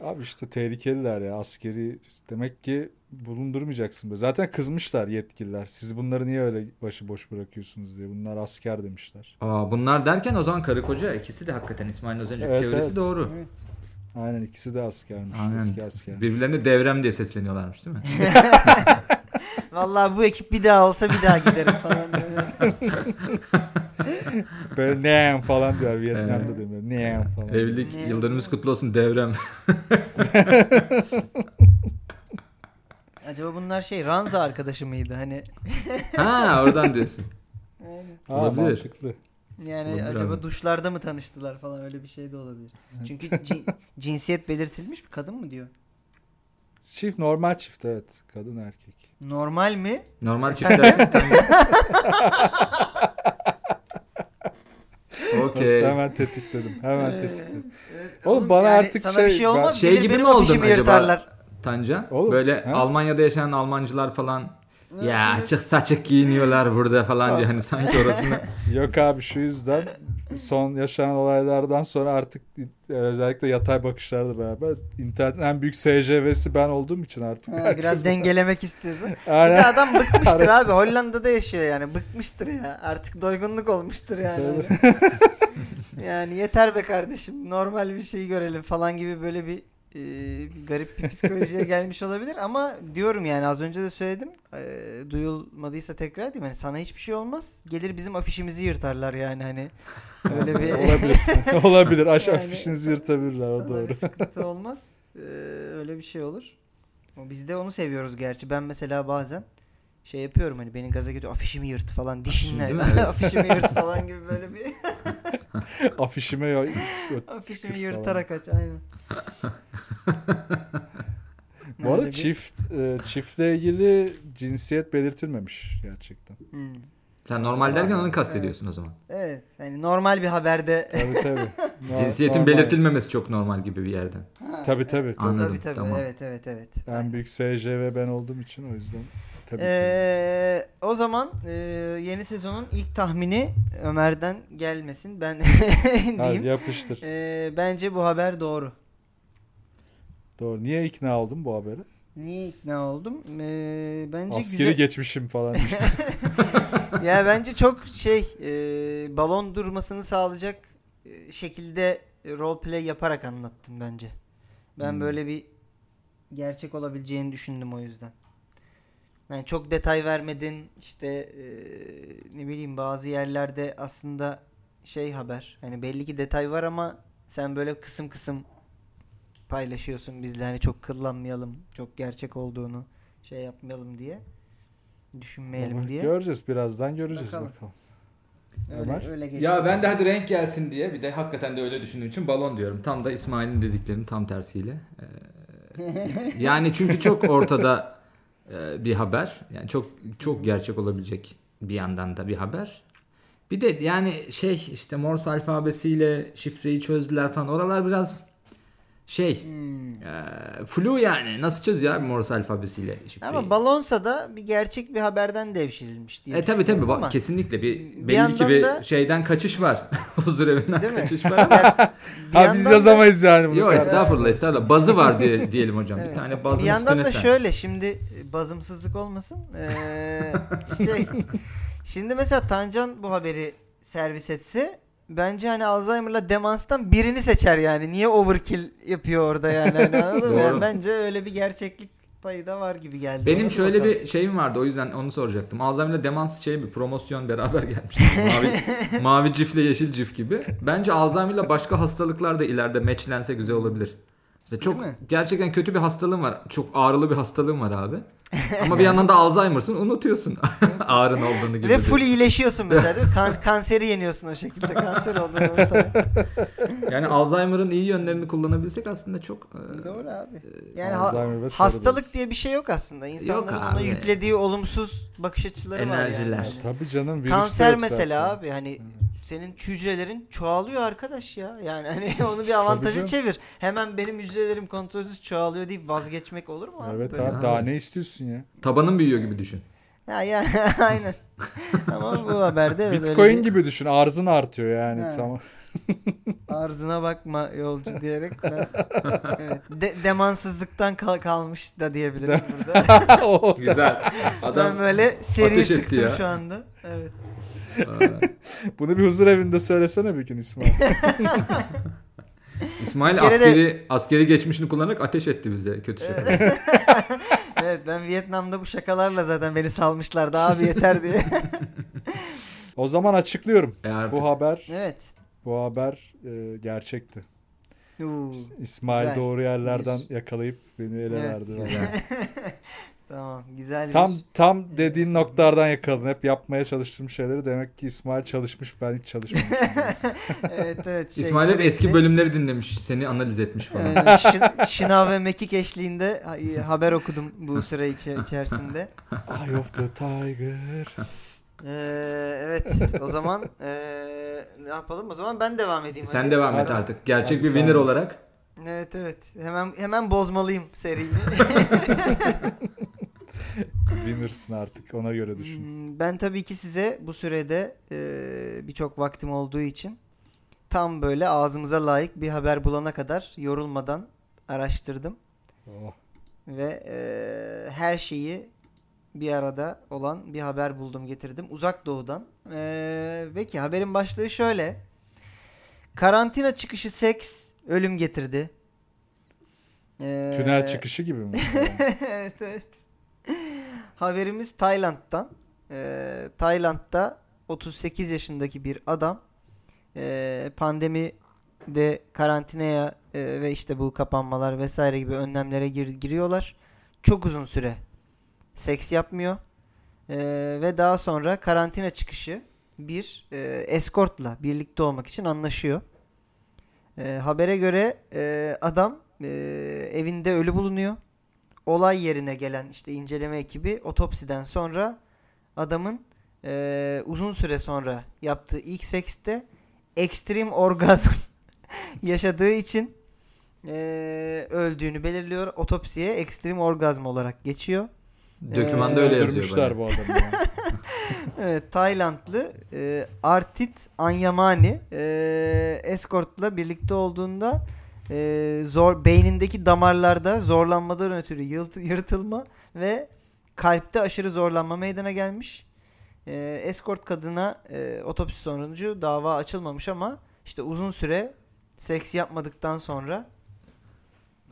[SPEAKER 2] Abi işte tehlikeliler ya askeri. Demek ki bulundurmayacaksın. be. Zaten kızmışlar yetkililer. Siz bunları niye öyle başıboş bırakıyorsunuz diye. Bunlar asker demişler.
[SPEAKER 3] Aa, bunlar derken o zaman karı koca ikisi de hakikaten İsmail'in az önceki
[SPEAKER 2] Evet,
[SPEAKER 3] teorisi
[SPEAKER 2] evet.
[SPEAKER 3] doğru.
[SPEAKER 2] Aynen ikisi de askermiş.
[SPEAKER 3] Aynen.
[SPEAKER 2] Eski asker.
[SPEAKER 3] Birbirlerine devrem diye sesleniyorlarmış değil mi?
[SPEAKER 1] Vallahi bu ekip bir daha olsa bir daha giderim *laughs* falan. böyle.
[SPEAKER 2] Böyle "Neyim?" falan
[SPEAKER 3] *laughs*
[SPEAKER 2] diyor Vietnam'da
[SPEAKER 3] Evet.
[SPEAKER 2] değil mi? "Neyim?" falan.
[SPEAKER 3] Evlilik
[SPEAKER 1] Ne?
[SPEAKER 3] yıllarımız kutlu
[SPEAKER 2] *laughs*
[SPEAKER 3] olsun devrem.
[SPEAKER 1] Acaba bunlar şey Ranza arkadaşı mıydı? Hani
[SPEAKER 3] ha oradan diyorsun.
[SPEAKER 2] Ha,
[SPEAKER 3] Olabilir.
[SPEAKER 2] mantıklı.
[SPEAKER 1] yani
[SPEAKER 3] Olabilir
[SPEAKER 1] acaba
[SPEAKER 3] abi.
[SPEAKER 1] duşlarda mı tanıştılar falan öyle bir şey de olabilir. Çünkü ci- cinsiyet belirtilmiş bir kadın mı diyor?
[SPEAKER 2] Çift normal çift evet. Kadın erkek.
[SPEAKER 1] Normal mi?
[SPEAKER 3] Normal
[SPEAKER 2] *laughs*
[SPEAKER 3] çiftler. bir tane.
[SPEAKER 2] Nasıl
[SPEAKER 3] Okey.
[SPEAKER 2] hemen tetikledim. Hemen tetikledim.
[SPEAKER 1] Ee, Evet,
[SPEAKER 2] Oğlum bana artık
[SPEAKER 1] sana
[SPEAKER 2] şey-
[SPEAKER 1] bir şey olmaz.
[SPEAKER 3] ben- Şey
[SPEAKER 1] Gelir
[SPEAKER 3] gibi
[SPEAKER 1] benim
[SPEAKER 3] mi oldun
[SPEAKER 1] afişimi
[SPEAKER 3] acaba?
[SPEAKER 1] yırtarlar.
[SPEAKER 3] Tancan.
[SPEAKER 2] Oğlum,
[SPEAKER 3] böyle
[SPEAKER 2] ha?
[SPEAKER 3] Almanya'da yaşayan Almancılar falan ya
[SPEAKER 1] evet.
[SPEAKER 3] açık saçık giyiniyorlar burada falan
[SPEAKER 1] *laughs*
[SPEAKER 3] diye hani sanki orasını
[SPEAKER 2] Yok abi şu yüzden son yaşanan olaylardan sonra artık e, özellikle yatay bakışlarla beraber internetin en büyük SCV'si ben olduğum için artık
[SPEAKER 1] Ha,
[SPEAKER 2] herkes
[SPEAKER 1] biraz
[SPEAKER 2] bana-
[SPEAKER 1] dengelemek istiyorsun. Bir de
[SPEAKER 2] *laughs* Aynen.
[SPEAKER 1] adam bıkmıştır abi. Hollanda'da yaşıyor yani. Bıkmıştır ya. Artık doygunluk olmuştur yani. yani yeter be kardeşim. Normal bir şey görelim falan gibi böyle bir e, garip bir psikolojiye gelmiş olabilir ama diyorum yani az önce de söyledim. E, duyulmadıysa tekrar diyeyim. Hani sana hiçbir şey olmaz. Gelir bizim afişimizi yırtarlar yani hani. Öyle bir
[SPEAKER 2] *laughs* olabilir.
[SPEAKER 1] *laughs*
[SPEAKER 2] olabilir. Aşağı
[SPEAKER 1] Yani-
[SPEAKER 2] afişinizi yırtabilirler o
[SPEAKER 1] Sana
[SPEAKER 2] doğru.
[SPEAKER 1] bir
[SPEAKER 2] *laughs*
[SPEAKER 1] sıkıntı olmaz. Ee, öyle bir şey olur. Ama Biz de onu seviyoruz gerçi. Ben mesela bazen şey yapıyorum hani benim gaza gidiyor afişimi yırt falan *laughs*
[SPEAKER 3] değil
[SPEAKER 1] dişinle
[SPEAKER 3] mi? Evet.
[SPEAKER 1] afişimi
[SPEAKER 2] *laughs*
[SPEAKER 1] yırt falan gibi böyle bir
[SPEAKER 2] Afişime yo-
[SPEAKER 1] afişimi
[SPEAKER 2] falan.
[SPEAKER 1] yırtarak aç aynen.
[SPEAKER 2] *laughs* Bu arada
[SPEAKER 1] Öyle bir-
[SPEAKER 2] çift e, çiftle ilgili cinsiyet belirtilmemiş gerçekten.
[SPEAKER 1] Hmm.
[SPEAKER 3] sen normal derken onu kastediyorsun o zaman.
[SPEAKER 1] Evet yani normal bir haberde *laughs*
[SPEAKER 2] Tabii tabii. No-
[SPEAKER 3] Cinsiyetin
[SPEAKER 2] normal.
[SPEAKER 3] belirtilmemesi çok normal gibi bir yerden.
[SPEAKER 2] Tabii tabii. tabii.
[SPEAKER 3] Anladım,
[SPEAKER 1] tabii tabii
[SPEAKER 3] tamam.
[SPEAKER 1] evet evet evet.
[SPEAKER 2] En büyük SJV ben olduğum için o yüzden tabii ki.
[SPEAKER 1] Ee, o zaman e, yeni sezonun ilk tahmini Ömer'den gelmesin ben *laughs* diyeyim.
[SPEAKER 2] Hadi yapıştır.
[SPEAKER 1] Ee, bence bu haber doğru.
[SPEAKER 2] Doğru. Niye ikna oldum bu habere?
[SPEAKER 1] Niye ikna oldum? Ee, bence
[SPEAKER 2] Askeri
[SPEAKER 1] güzel. *laughs*
[SPEAKER 2] geçmişim falan.
[SPEAKER 1] ya bence çok şey e, balon durmasını sağlayacak e, şekilde e, roleplay yaparak anlattın bence. Ben
[SPEAKER 2] Hmm.
[SPEAKER 1] böyle bir gerçek olabileceğini düşündüm o yüzden. Yani çok detay vermedin işte e, ne bileyim bazı yerlerde aslında şey haber. Hani belli ki detay var ama sen böyle kısım kısım paylaşıyorsun bizle hani çok kıllanmayalım, çok gerçek olduğunu şey yapmayalım diye. Düşünmeyelim
[SPEAKER 2] Ama
[SPEAKER 1] diye.
[SPEAKER 2] Göreceğiz birazdan göreceğiz
[SPEAKER 1] Bakalım.
[SPEAKER 2] bakalım.
[SPEAKER 1] Öyle,
[SPEAKER 2] Ömer?
[SPEAKER 1] öyle geçiyor.
[SPEAKER 3] Ya ben de hadi renk gelsin diye bir de hakikaten de öyle düşündüğüm için balon diyorum. Tam da İsmail'in dediklerinin tam tersiyle.
[SPEAKER 1] *laughs*
[SPEAKER 3] Ee, yani çünkü çok ortada e, bir haber. Yani çok çok gerçek olabilecek bir yandan da bir haber. Bir de yani şey işte Morse alfabesiyle şifreyi çözdüler falan. Oralar biraz şey
[SPEAKER 1] Hmm.
[SPEAKER 3] e, flu yani. Nasıl çözüyor abi Morse alfabesiyle şifreyi?
[SPEAKER 1] Ama balonsa da bir gerçek bir haberden devşirilmiş diye.
[SPEAKER 3] şey- E tabi tabi
[SPEAKER 1] düşünüyorum ama-
[SPEAKER 3] kesinlikle bir
[SPEAKER 1] Bir
[SPEAKER 3] belli ki
[SPEAKER 1] yandan
[SPEAKER 3] bir
[SPEAKER 1] da-
[SPEAKER 3] şeyden kaçış var. *laughs* Huzur evinden
[SPEAKER 1] Değil mi?
[SPEAKER 3] kaçış var.
[SPEAKER 1] Ya, bir
[SPEAKER 2] *laughs* Ha, biz
[SPEAKER 1] yandan da-
[SPEAKER 2] yazamayız yani bunu.
[SPEAKER 3] Yok
[SPEAKER 2] kardeşim.
[SPEAKER 3] estağfurullah estağfurullah. Bazı
[SPEAKER 1] *laughs*
[SPEAKER 3] var diye diyelim hocam.
[SPEAKER 1] Evet.
[SPEAKER 3] Bir tane bazın
[SPEAKER 1] bir yandan
[SPEAKER 3] üstüne
[SPEAKER 1] da
[SPEAKER 3] sen.
[SPEAKER 1] şöyle şimdi e, bazımsızlık olmasın.
[SPEAKER 3] *laughs*
[SPEAKER 1] Ee, şey, şimdi mesela Tancan bu haberi servis etse bence hani Alzheimer'la demanstan birini seçer yani. Niye overkill yapıyor orada yani? Hani anladın mı?
[SPEAKER 3] *laughs* Doğru.
[SPEAKER 1] Yani bence öyle bir gerçeklik payı da var gibi geldi.
[SPEAKER 3] Benim
[SPEAKER 1] Ona
[SPEAKER 3] şöyle
[SPEAKER 1] bakalım.
[SPEAKER 3] bir şeyim vardı o yüzden onu soracaktım. Alzheimer'la demans şey bir promosyon beraber gelmiş. *laughs*
[SPEAKER 1] *laughs*
[SPEAKER 3] Mavi, mavi cifle yeşil cif gibi. Bence Alzheimer'la başka hastalıklar da ileride meçlense güzel olabilir. Mesela çok
[SPEAKER 1] Değil mi?
[SPEAKER 3] gerçekten kötü bir hastalığım var. Çok ağrılı bir hastalığım var
[SPEAKER 1] *laughs*
[SPEAKER 3] abi. Ama bir yandan da Alzheimer'sın unutuyorsun *laughs* ağrın olduğunu gibi.
[SPEAKER 1] Ve full iyileşiyorsun mesela
[SPEAKER 2] *laughs*
[SPEAKER 1] değil mi? Kan- kanseri yeniyorsun o şekilde. Kanser olduğunu unutan.
[SPEAKER 3] Yani Alzheimer'ın iyi yönlerini kullanabilsek aslında çok e,
[SPEAKER 1] Doğru abi. Yani ha-
[SPEAKER 2] Ee, Alzheimer ve sarı
[SPEAKER 1] hastalık
[SPEAKER 2] bez.
[SPEAKER 1] diye bir şey yok aslında. İnsanların
[SPEAKER 3] Yok
[SPEAKER 1] ona
[SPEAKER 3] abi.
[SPEAKER 1] yüklediği olumsuz bakış açıları var
[SPEAKER 3] Enerjiler.
[SPEAKER 1] yani. Hani
[SPEAKER 2] Tabii canım virüs de
[SPEAKER 1] Kanser
[SPEAKER 2] yok
[SPEAKER 1] mesela
[SPEAKER 2] zaten.
[SPEAKER 1] abi hani senin hücrelerin çoğalıyor arkadaş ya. Yani hani *laughs* onu bir avantaja
[SPEAKER 2] canım.
[SPEAKER 1] çevir. Hemen benim hücrelerim kontrolsüz çoğalıyor deyip vazgeçmek olur mu abi?
[SPEAKER 2] Evet
[SPEAKER 3] Böyle
[SPEAKER 2] abi
[SPEAKER 3] abi.
[SPEAKER 2] daha ne istiyorsun ya?
[SPEAKER 3] tabanın büyüyor gibi düşün.
[SPEAKER 1] Ya ya *laughs* aynen. Ama bu haberde evet, öyle
[SPEAKER 2] Bitcoin
[SPEAKER 1] bir
[SPEAKER 2] gibi düşün arzın artıyor yani
[SPEAKER 1] Ha.
[SPEAKER 2] tamam. *laughs*
[SPEAKER 1] arzına bakma yolcu diyerek ben evet, de- demansızlıktan kal- kalmış da diyebiliriz burada.
[SPEAKER 2] O-
[SPEAKER 3] Güzel.
[SPEAKER 1] *laughs* ben böyle seri
[SPEAKER 3] ateş etti
[SPEAKER 1] sıktım
[SPEAKER 3] ya.
[SPEAKER 1] şu anda. Evet.
[SPEAKER 2] Bunu bir huzur evinde söylesene bir gün İsmail.
[SPEAKER 3] İsmail
[SPEAKER 1] Bir kere de-
[SPEAKER 3] askeri askeri geçmişini kullanarak ateş etti bize kötü şaka.
[SPEAKER 1] Evet ben Vietnam'da bu şakalarla zaten beni salmışlardı abi yeter
[SPEAKER 3] *laughs*
[SPEAKER 1] diye.
[SPEAKER 2] o zaman açıklıyorum.
[SPEAKER 3] Eğer *laughs*
[SPEAKER 2] Bu haber
[SPEAKER 1] evet.
[SPEAKER 2] bu haber e, gerçekti.
[SPEAKER 1] Uu,
[SPEAKER 2] İs- İsmail
[SPEAKER 1] Güzel.
[SPEAKER 2] doğru yerlerden yakalayıp beni ele
[SPEAKER 1] Evet.
[SPEAKER 2] verdi. vallahi.
[SPEAKER 1] Şey,
[SPEAKER 3] Güzel.
[SPEAKER 1] tamam güzel
[SPEAKER 2] Tam
[SPEAKER 1] bir.
[SPEAKER 2] tam dediğin noktalardan yakaladın. Hep yapmaya çalıştığım şeyleri demek ki İsmail çalışmış ben hiç çalışmadım.
[SPEAKER 1] *laughs* Evet evet. şey,
[SPEAKER 3] İsmail hep eski
[SPEAKER 1] sürekli-
[SPEAKER 3] bölümleri dinlemiş, seni analiz etmiş falan.
[SPEAKER 1] Aynen. Şi- Şınav ve Mekik eşliğinde ha- haber okudum bu süre içi- içerisinde.
[SPEAKER 2] Eye of the Tiger.
[SPEAKER 1] Ee, evet o zaman ee, ne yapalım? O zaman ben devam edeyim.
[SPEAKER 3] E, Sen
[SPEAKER 1] hadi.
[SPEAKER 3] devam et
[SPEAKER 2] Hadi.
[SPEAKER 3] artık. Gerçek
[SPEAKER 2] Hadi
[SPEAKER 3] bir
[SPEAKER 2] sen
[SPEAKER 3] winner
[SPEAKER 2] de.
[SPEAKER 3] olarak.
[SPEAKER 1] Evet evet. Hemen hemen bozmalıyım seriyi.
[SPEAKER 2] Winner'sın artık ona göre *laughs* düşün.
[SPEAKER 1] Hmm, ben tabii ki size bu sürede ee, birçok vaktim olduğu için tam böyle ağzımıza layık bir haber bulana kadar yorulmadan araştırdım.
[SPEAKER 2] Oh.
[SPEAKER 1] ve eee, her şeyi bir arada olan bir haber buldum getirdim uzak doğudan. Eee peki haberin başlığı şöyle. Karantina çıkışı seks ölüm getirdi. E, Eee,
[SPEAKER 2] Tünel
[SPEAKER 3] Ee,
[SPEAKER 2] çıkışı gibi
[SPEAKER 3] *laughs*
[SPEAKER 2] mi?
[SPEAKER 1] *laughs* evet evet. Haberimiz Tayland'dan. Ee, Tayland'da 38 yaşındaki bir adam ee, pandemi de karantinaya e, ve işte bu kapanmalar vesaire gibi önlemlere gir- giriyorlar. Çok uzun süre seks yapmıyor. Ee, ve daha sonra karantina çıkışı bir e, eskortla birlikte olmak için anlaşıyor. Ee, habere göre e, adam e, evinde ölü bulunuyor olay yerine gelen işte inceleme ekibi otopsiden sonra adamın eee, uzun süre sonra yaptığı ilk sekste ekstrem orgazm *laughs* yaşadığı için eee, öldüğünü belirliyor. Otopsiye ekstrem orgazm olarak geçiyor.
[SPEAKER 3] Dökümanda
[SPEAKER 1] Ee,
[SPEAKER 3] öyle yazıyor.
[SPEAKER 2] Öldürmüşler
[SPEAKER 3] böyle.
[SPEAKER 2] bu adamı.
[SPEAKER 3] *laughs*
[SPEAKER 2] ya.
[SPEAKER 1] *laughs* Evet, Taylandlı e, Artit Anyamani e, eskortla birlikte olduğunda e, zor beynindeki damarlarda zorlanmadan ötürü yılt- yırtılma ve kalpte aşırı zorlanma meydana gelmiş. E, eskort kadına e, otopsi sonucu dava açılmamış ama işte uzun süre seks yapmadıktan sonra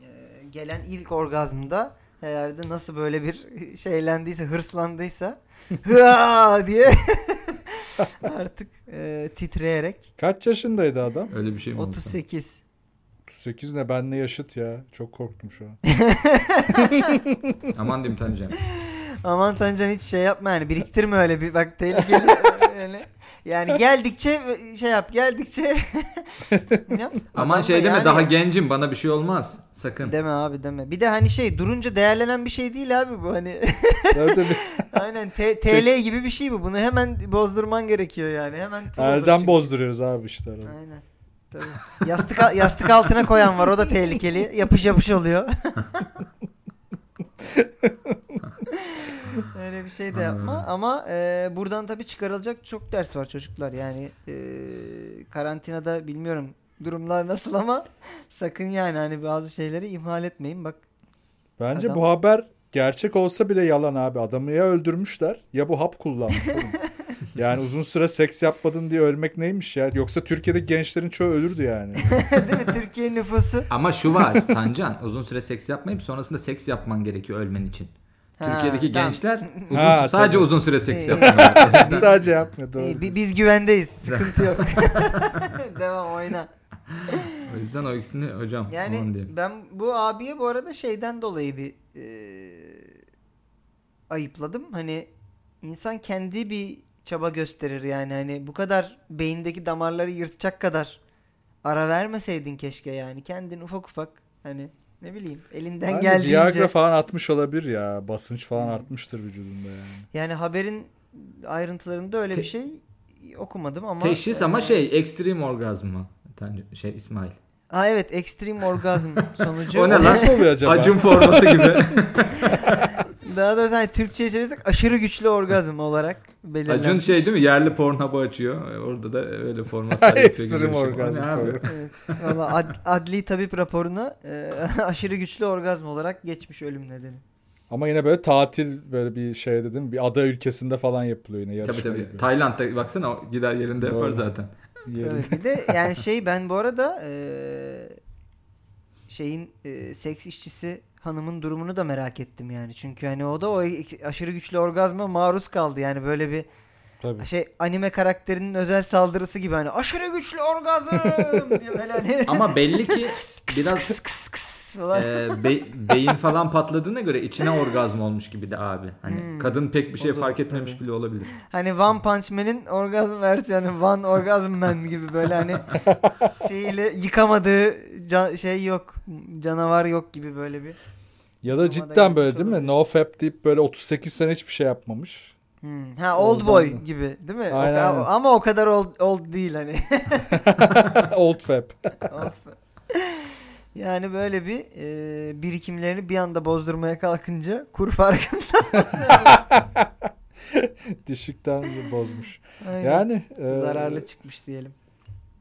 [SPEAKER 1] e, gelen ilk orgazmda herhalde nasıl böyle bir *laughs* şeylendiyse, hırslandıysa hıa diye *laughs* artık e, titreyerek
[SPEAKER 2] Kaç yaşındaydı adam?
[SPEAKER 3] Öyle bir şey mi? oldu?
[SPEAKER 1] 38
[SPEAKER 2] 38 ne benle yaşıt ya. Çok korktum şu
[SPEAKER 3] *laughs*
[SPEAKER 2] an.
[SPEAKER 3] Aman
[SPEAKER 1] *laughs*
[SPEAKER 3] diyeyim Tancan.
[SPEAKER 1] aman Tancan hiç şey yapma yani biriktirme öyle bir bak tehlikeli *laughs* yani, yani geldikçe şey yap geldikçe *laughs* yap. Adam
[SPEAKER 3] Aman
[SPEAKER 1] da
[SPEAKER 3] şey deme
[SPEAKER 1] yani-
[SPEAKER 3] daha gencim bana bir şey olmaz. Sakın.
[SPEAKER 1] Deme abi deme. Bir de hani şey durunca değerlenen bir şey değil abi bu hani. *laughs*
[SPEAKER 2] Nerede bir-
[SPEAKER 1] Aynen T- TL gibi bir şey bu. Bunu hemen bozdurman gerekiyor yani. Hemen pul olur
[SPEAKER 2] Elden
[SPEAKER 1] çünkü.
[SPEAKER 2] bozduruyoruz abi işte. arada.
[SPEAKER 1] Aynen. Tabii. Yastık al- yastık altına koyan var. O da tehlikeli. Yapış yapış
[SPEAKER 3] *laughs*
[SPEAKER 1] oluyor. Öyle bir şey de yapma. Ama e, buradan tabii çıkarılacak çok ders var çocuklar. Yani e, karantinada bilmiyorum durumlar nasıl ama sakın yani hani bazı şeyleri ihmal etmeyin. Bak *laughs*
[SPEAKER 2] Bence
[SPEAKER 1] Adam-
[SPEAKER 2] bu haber gerçek olsa bile yalan abi. Adamı ya öldürmüşler ya bu hap kullanmış.
[SPEAKER 3] *laughs*
[SPEAKER 2] oğlum. yani uzun süre seks yapmadın diye ölmek neymiş ya? Yoksa Türkiye'de gençlerin çoğu ölürdü yani.
[SPEAKER 3] *laughs*
[SPEAKER 1] değil mi Türkiye nüfusu?
[SPEAKER 3] Ama
[SPEAKER 1] *laughs*
[SPEAKER 3] şu var Tancan uzun süre seks yapmayıp sonrasında seks yapman gerekiyor ölmen için.
[SPEAKER 1] Ha,
[SPEAKER 3] Türkiye'deki
[SPEAKER 1] tamam. *laughs*
[SPEAKER 3] gençler uzun,
[SPEAKER 2] Ha,
[SPEAKER 3] sadece
[SPEAKER 2] tabii.
[SPEAKER 3] uzun süre seks
[SPEAKER 1] İyi.
[SPEAKER 3] yapmıyor.
[SPEAKER 2] Sadece
[SPEAKER 1] E,
[SPEAKER 2] yapmıyor
[SPEAKER 1] İyi, *laughs*
[SPEAKER 2] doğru.
[SPEAKER 3] *laughs*
[SPEAKER 1] bi- biz güvendeyiz. Sıkıntı yok. Devam oyna.
[SPEAKER 3] O yüzden o ikisini hocam yani,
[SPEAKER 1] Yani
[SPEAKER 3] aman diyeyim.
[SPEAKER 1] ben bu abiye bu arada şeyden dolayı bir e, ayıpladım. Hani insan kendi bir çaba gösterir yani hani bu kadar beyindeki damarları yırtacak kadar ara vermeseydin keşke yani kendin ufak ufak hani ne bileyim elinden
[SPEAKER 3] Hani
[SPEAKER 2] Bence
[SPEAKER 1] geldiğince
[SPEAKER 2] Viagra falan atmış olabilir ya. Basınç
[SPEAKER 3] Hmm.
[SPEAKER 2] falan artmıştır vücudunda yani.
[SPEAKER 1] yani haberin ayrıntılarında öyle
[SPEAKER 3] Te-
[SPEAKER 1] bir şey okumadım ama e,
[SPEAKER 3] Teşhis ama şey ekstrem orgazm mı? Tan- Şey İsmail.
[SPEAKER 1] Aa evet ekstrem orgazm
[SPEAKER 3] *laughs*
[SPEAKER 1] sonucu
[SPEAKER 3] O ne lan?
[SPEAKER 2] Nasıl oluyor acaba? *laughs*
[SPEAKER 3] *laughs* Acun forması gibi.
[SPEAKER 1] Daha doğrusu hani Türkçe'ye çevirirsek aşırı güçlü orgazm olarak belirlenmiş.
[SPEAKER 3] Acun şey değil mi? Yerli Pornhub'ı açıyor. E, Orada da
[SPEAKER 1] *laughs*
[SPEAKER 3] öyle formatlar yapıyor.
[SPEAKER 2] Ekstrem
[SPEAKER 3] gibi bir şey.
[SPEAKER 2] orgazm
[SPEAKER 3] O ne abi?
[SPEAKER 2] programı.
[SPEAKER 1] Evet. Valla ad- adli tabip raporuna e, *laughs* aşırı güçlü orgazm olarak geçmiş ölüm nedeni.
[SPEAKER 2] Ama yine böyle tatil böyle bir şey dedim. Bir ada ülkesinde falan yapılıyor yine yarışma
[SPEAKER 3] Tabii tabii.
[SPEAKER 2] gibi.
[SPEAKER 3] Tayland'da baksana o gider yerinde yapar
[SPEAKER 2] Doğru.
[SPEAKER 3] zaten.
[SPEAKER 2] Yerin-
[SPEAKER 1] Evet, bir de yani şey ben bu arada e, şeyin e, seks işçisi hanımın durumunu da merak ettim yani. Çünkü hani o da o aşırı güçlü orgazma maruz kaldı. Yani böyle bir
[SPEAKER 2] Tabii.
[SPEAKER 1] şey anime karakterinin özel saldırısı gibi hani aşırı güçlü orgazm *laughs* diye böyle hani *laughs*
[SPEAKER 3] *laughs* Ama belli ki
[SPEAKER 1] kıs
[SPEAKER 3] biraz
[SPEAKER 1] kıs kıs kıs falan.
[SPEAKER 3] e, be- beyin falan patladığına göre içine orgazm olmuş gibi de abi. Hani
[SPEAKER 1] Hmm.
[SPEAKER 3] kadın pek bir şey
[SPEAKER 1] Olur,
[SPEAKER 3] fark etmemiş
[SPEAKER 1] tabii.
[SPEAKER 3] bile olabilir.
[SPEAKER 1] Hani One Punch Man'in orgazm versiyonu One Orgasm Man gibi böyle
[SPEAKER 2] *laughs*
[SPEAKER 1] hani şeyle yıkamadığı ca- şey yok. Canavar yok gibi böyle bir.
[SPEAKER 2] Ya
[SPEAKER 1] Ama
[SPEAKER 2] da
[SPEAKER 1] da
[SPEAKER 2] cidden
[SPEAKER 1] yapmış
[SPEAKER 2] böyle değil mi?
[SPEAKER 1] olabilir.
[SPEAKER 2] No fap deyip böyle 38 sene hiçbir şey yapmamış. *laughs*
[SPEAKER 1] Hmm. Ha Old Boy
[SPEAKER 2] Oldan da.
[SPEAKER 1] gibi değil mi? O
[SPEAKER 2] Aynen,
[SPEAKER 1] ka-
[SPEAKER 2] aynen.
[SPEAKER 1] Ama o kadar old, old değil hani. *laughs*
[SPEAKER 2] Old fap.
[SPEAKER 1] Old- yani böyle bir e, birikimlerini bir anda bozdurmaya kalkınca kur farkı. *laughs*
[SPEAKER 2] Düşükten bozmuş.
[SPEAKER 1] Aynen.
[SPEAKER 2] Yani e,
[SPEAKER 1] Zararlı çıkmış diyelim.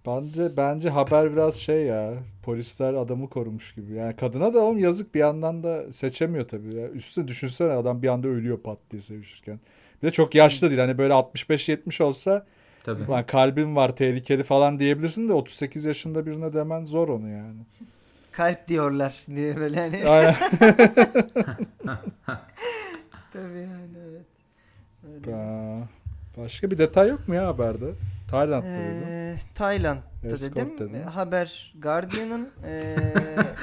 [SPEAKER 2] Bence bence haber biraz şey ya. Polisler adamı korumuş gibi. Yani kadına da oğlum yazık bir yandan da seçemiyor tabii. Ya. Üstüne düşünsene adam bir anda ölüyor pat diye sevişirken. Bir de çok yaşlı değil. Hani böyle 65-70 olsa
[SPEAKER 3] Tabii.
[SPEAKER 2] lan kalbim var tehlikeli falan diyebilirsin de 38 yaşında birine demen zor onu yani.
[SPEAKER 1] Kalp diyorlar diye böyle hani.
[SPEAKER 2] Aynen.
[SPEAKER 1] Tabii yani evet. Öyle.
[SPEAKER 2] Ba- Başka bir detay yok mu ya haberde? Tayland'da dedi.
[SPEAKER 1] Ee, Tayland'da
[SPEAKER 2] Escort
[SPEAKER 1] dedim.
[SPEAKER 2] dedin.
[SPEAKER 1] Ee, Haber Guardian'ın
[SPEAKER 2] *laughs*
[SPEAKER 1] ee,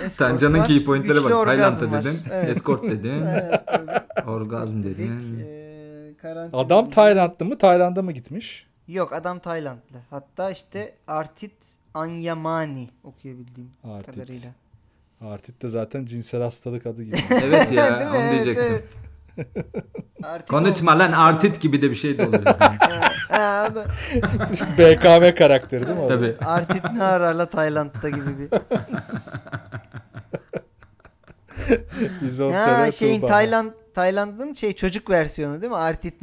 [SPEAKER 1] escort
[SPEAKER 3] Tancan'ın
[SPEAKER 1] var.
[SPEAKER 3] key point'lere bak.
[SPEAKER 1] Güçlü orgazm
[SPEAKER 3] Tayland'da
[SPEAKER 1] var.
[SPEAKER 3] dedin,
[SPEAKER 1] Evet.
[SPEAKER 3] escort
[SPEAKER 1] *laughs*
[SPEAKER 3] dedin,
[SPEAKER 1] Evet, evet.
[SPEAKER 3] orgazm
[SPEAKER 1] Dedik,
[SPEAKER 3] dedin.
[SPEAKER 1] ee, karantina-
[SPEAKER 2] Adam Taylandlı mı? Tayland'a mı gitmiş?
[SPEAKER 1] Yok adam Taylandlı. Hatta işte Artit Anyamani okuyabildiğim
[SPEAKER 2] Artit.
[SPEAKER 1] kadarıyla.
[SPEAKER 2] Artit de zaten cinsel hastalık adı gibi. *laughs*
[SPEAKER 1] *laughs*
[SPEAKER 3] Evet
[SPEAKER 1] Değil
[SPEAKER 3] *laughs* ya
[SPEAKER 1] mi?
[SPEAKER 3] onu
[SPEAKER 1] Evet,
[SPEAKER 3] diyecektim.
[SPEAKER 1] evet. Artit
[SPEAKER 3] Konuşma lan artit gibi de bir şey de
[SPEAKER 2] *laughs*
[SPEAKER 3] olur.
[SPEAKER 1] Ha, ha, o da-
[SPEAKER 2] BKM karakteri değil mi? o da?
[SPEAKER 3] Tabii.
[SPEAKER 1] Artit ne ararla Tayland'da gibi
[SPEAKER 2] *laughs*
[SPEAKER 1] bir.
[SPEAKER 2] İzotere
[SPEAKER 1] Ha şeyin
[SPEAKER 2] Tuğba.
[SPEAKER 1] şey, Tayland Tayland'ın şey çocuk versiyonu değil mi? Artit.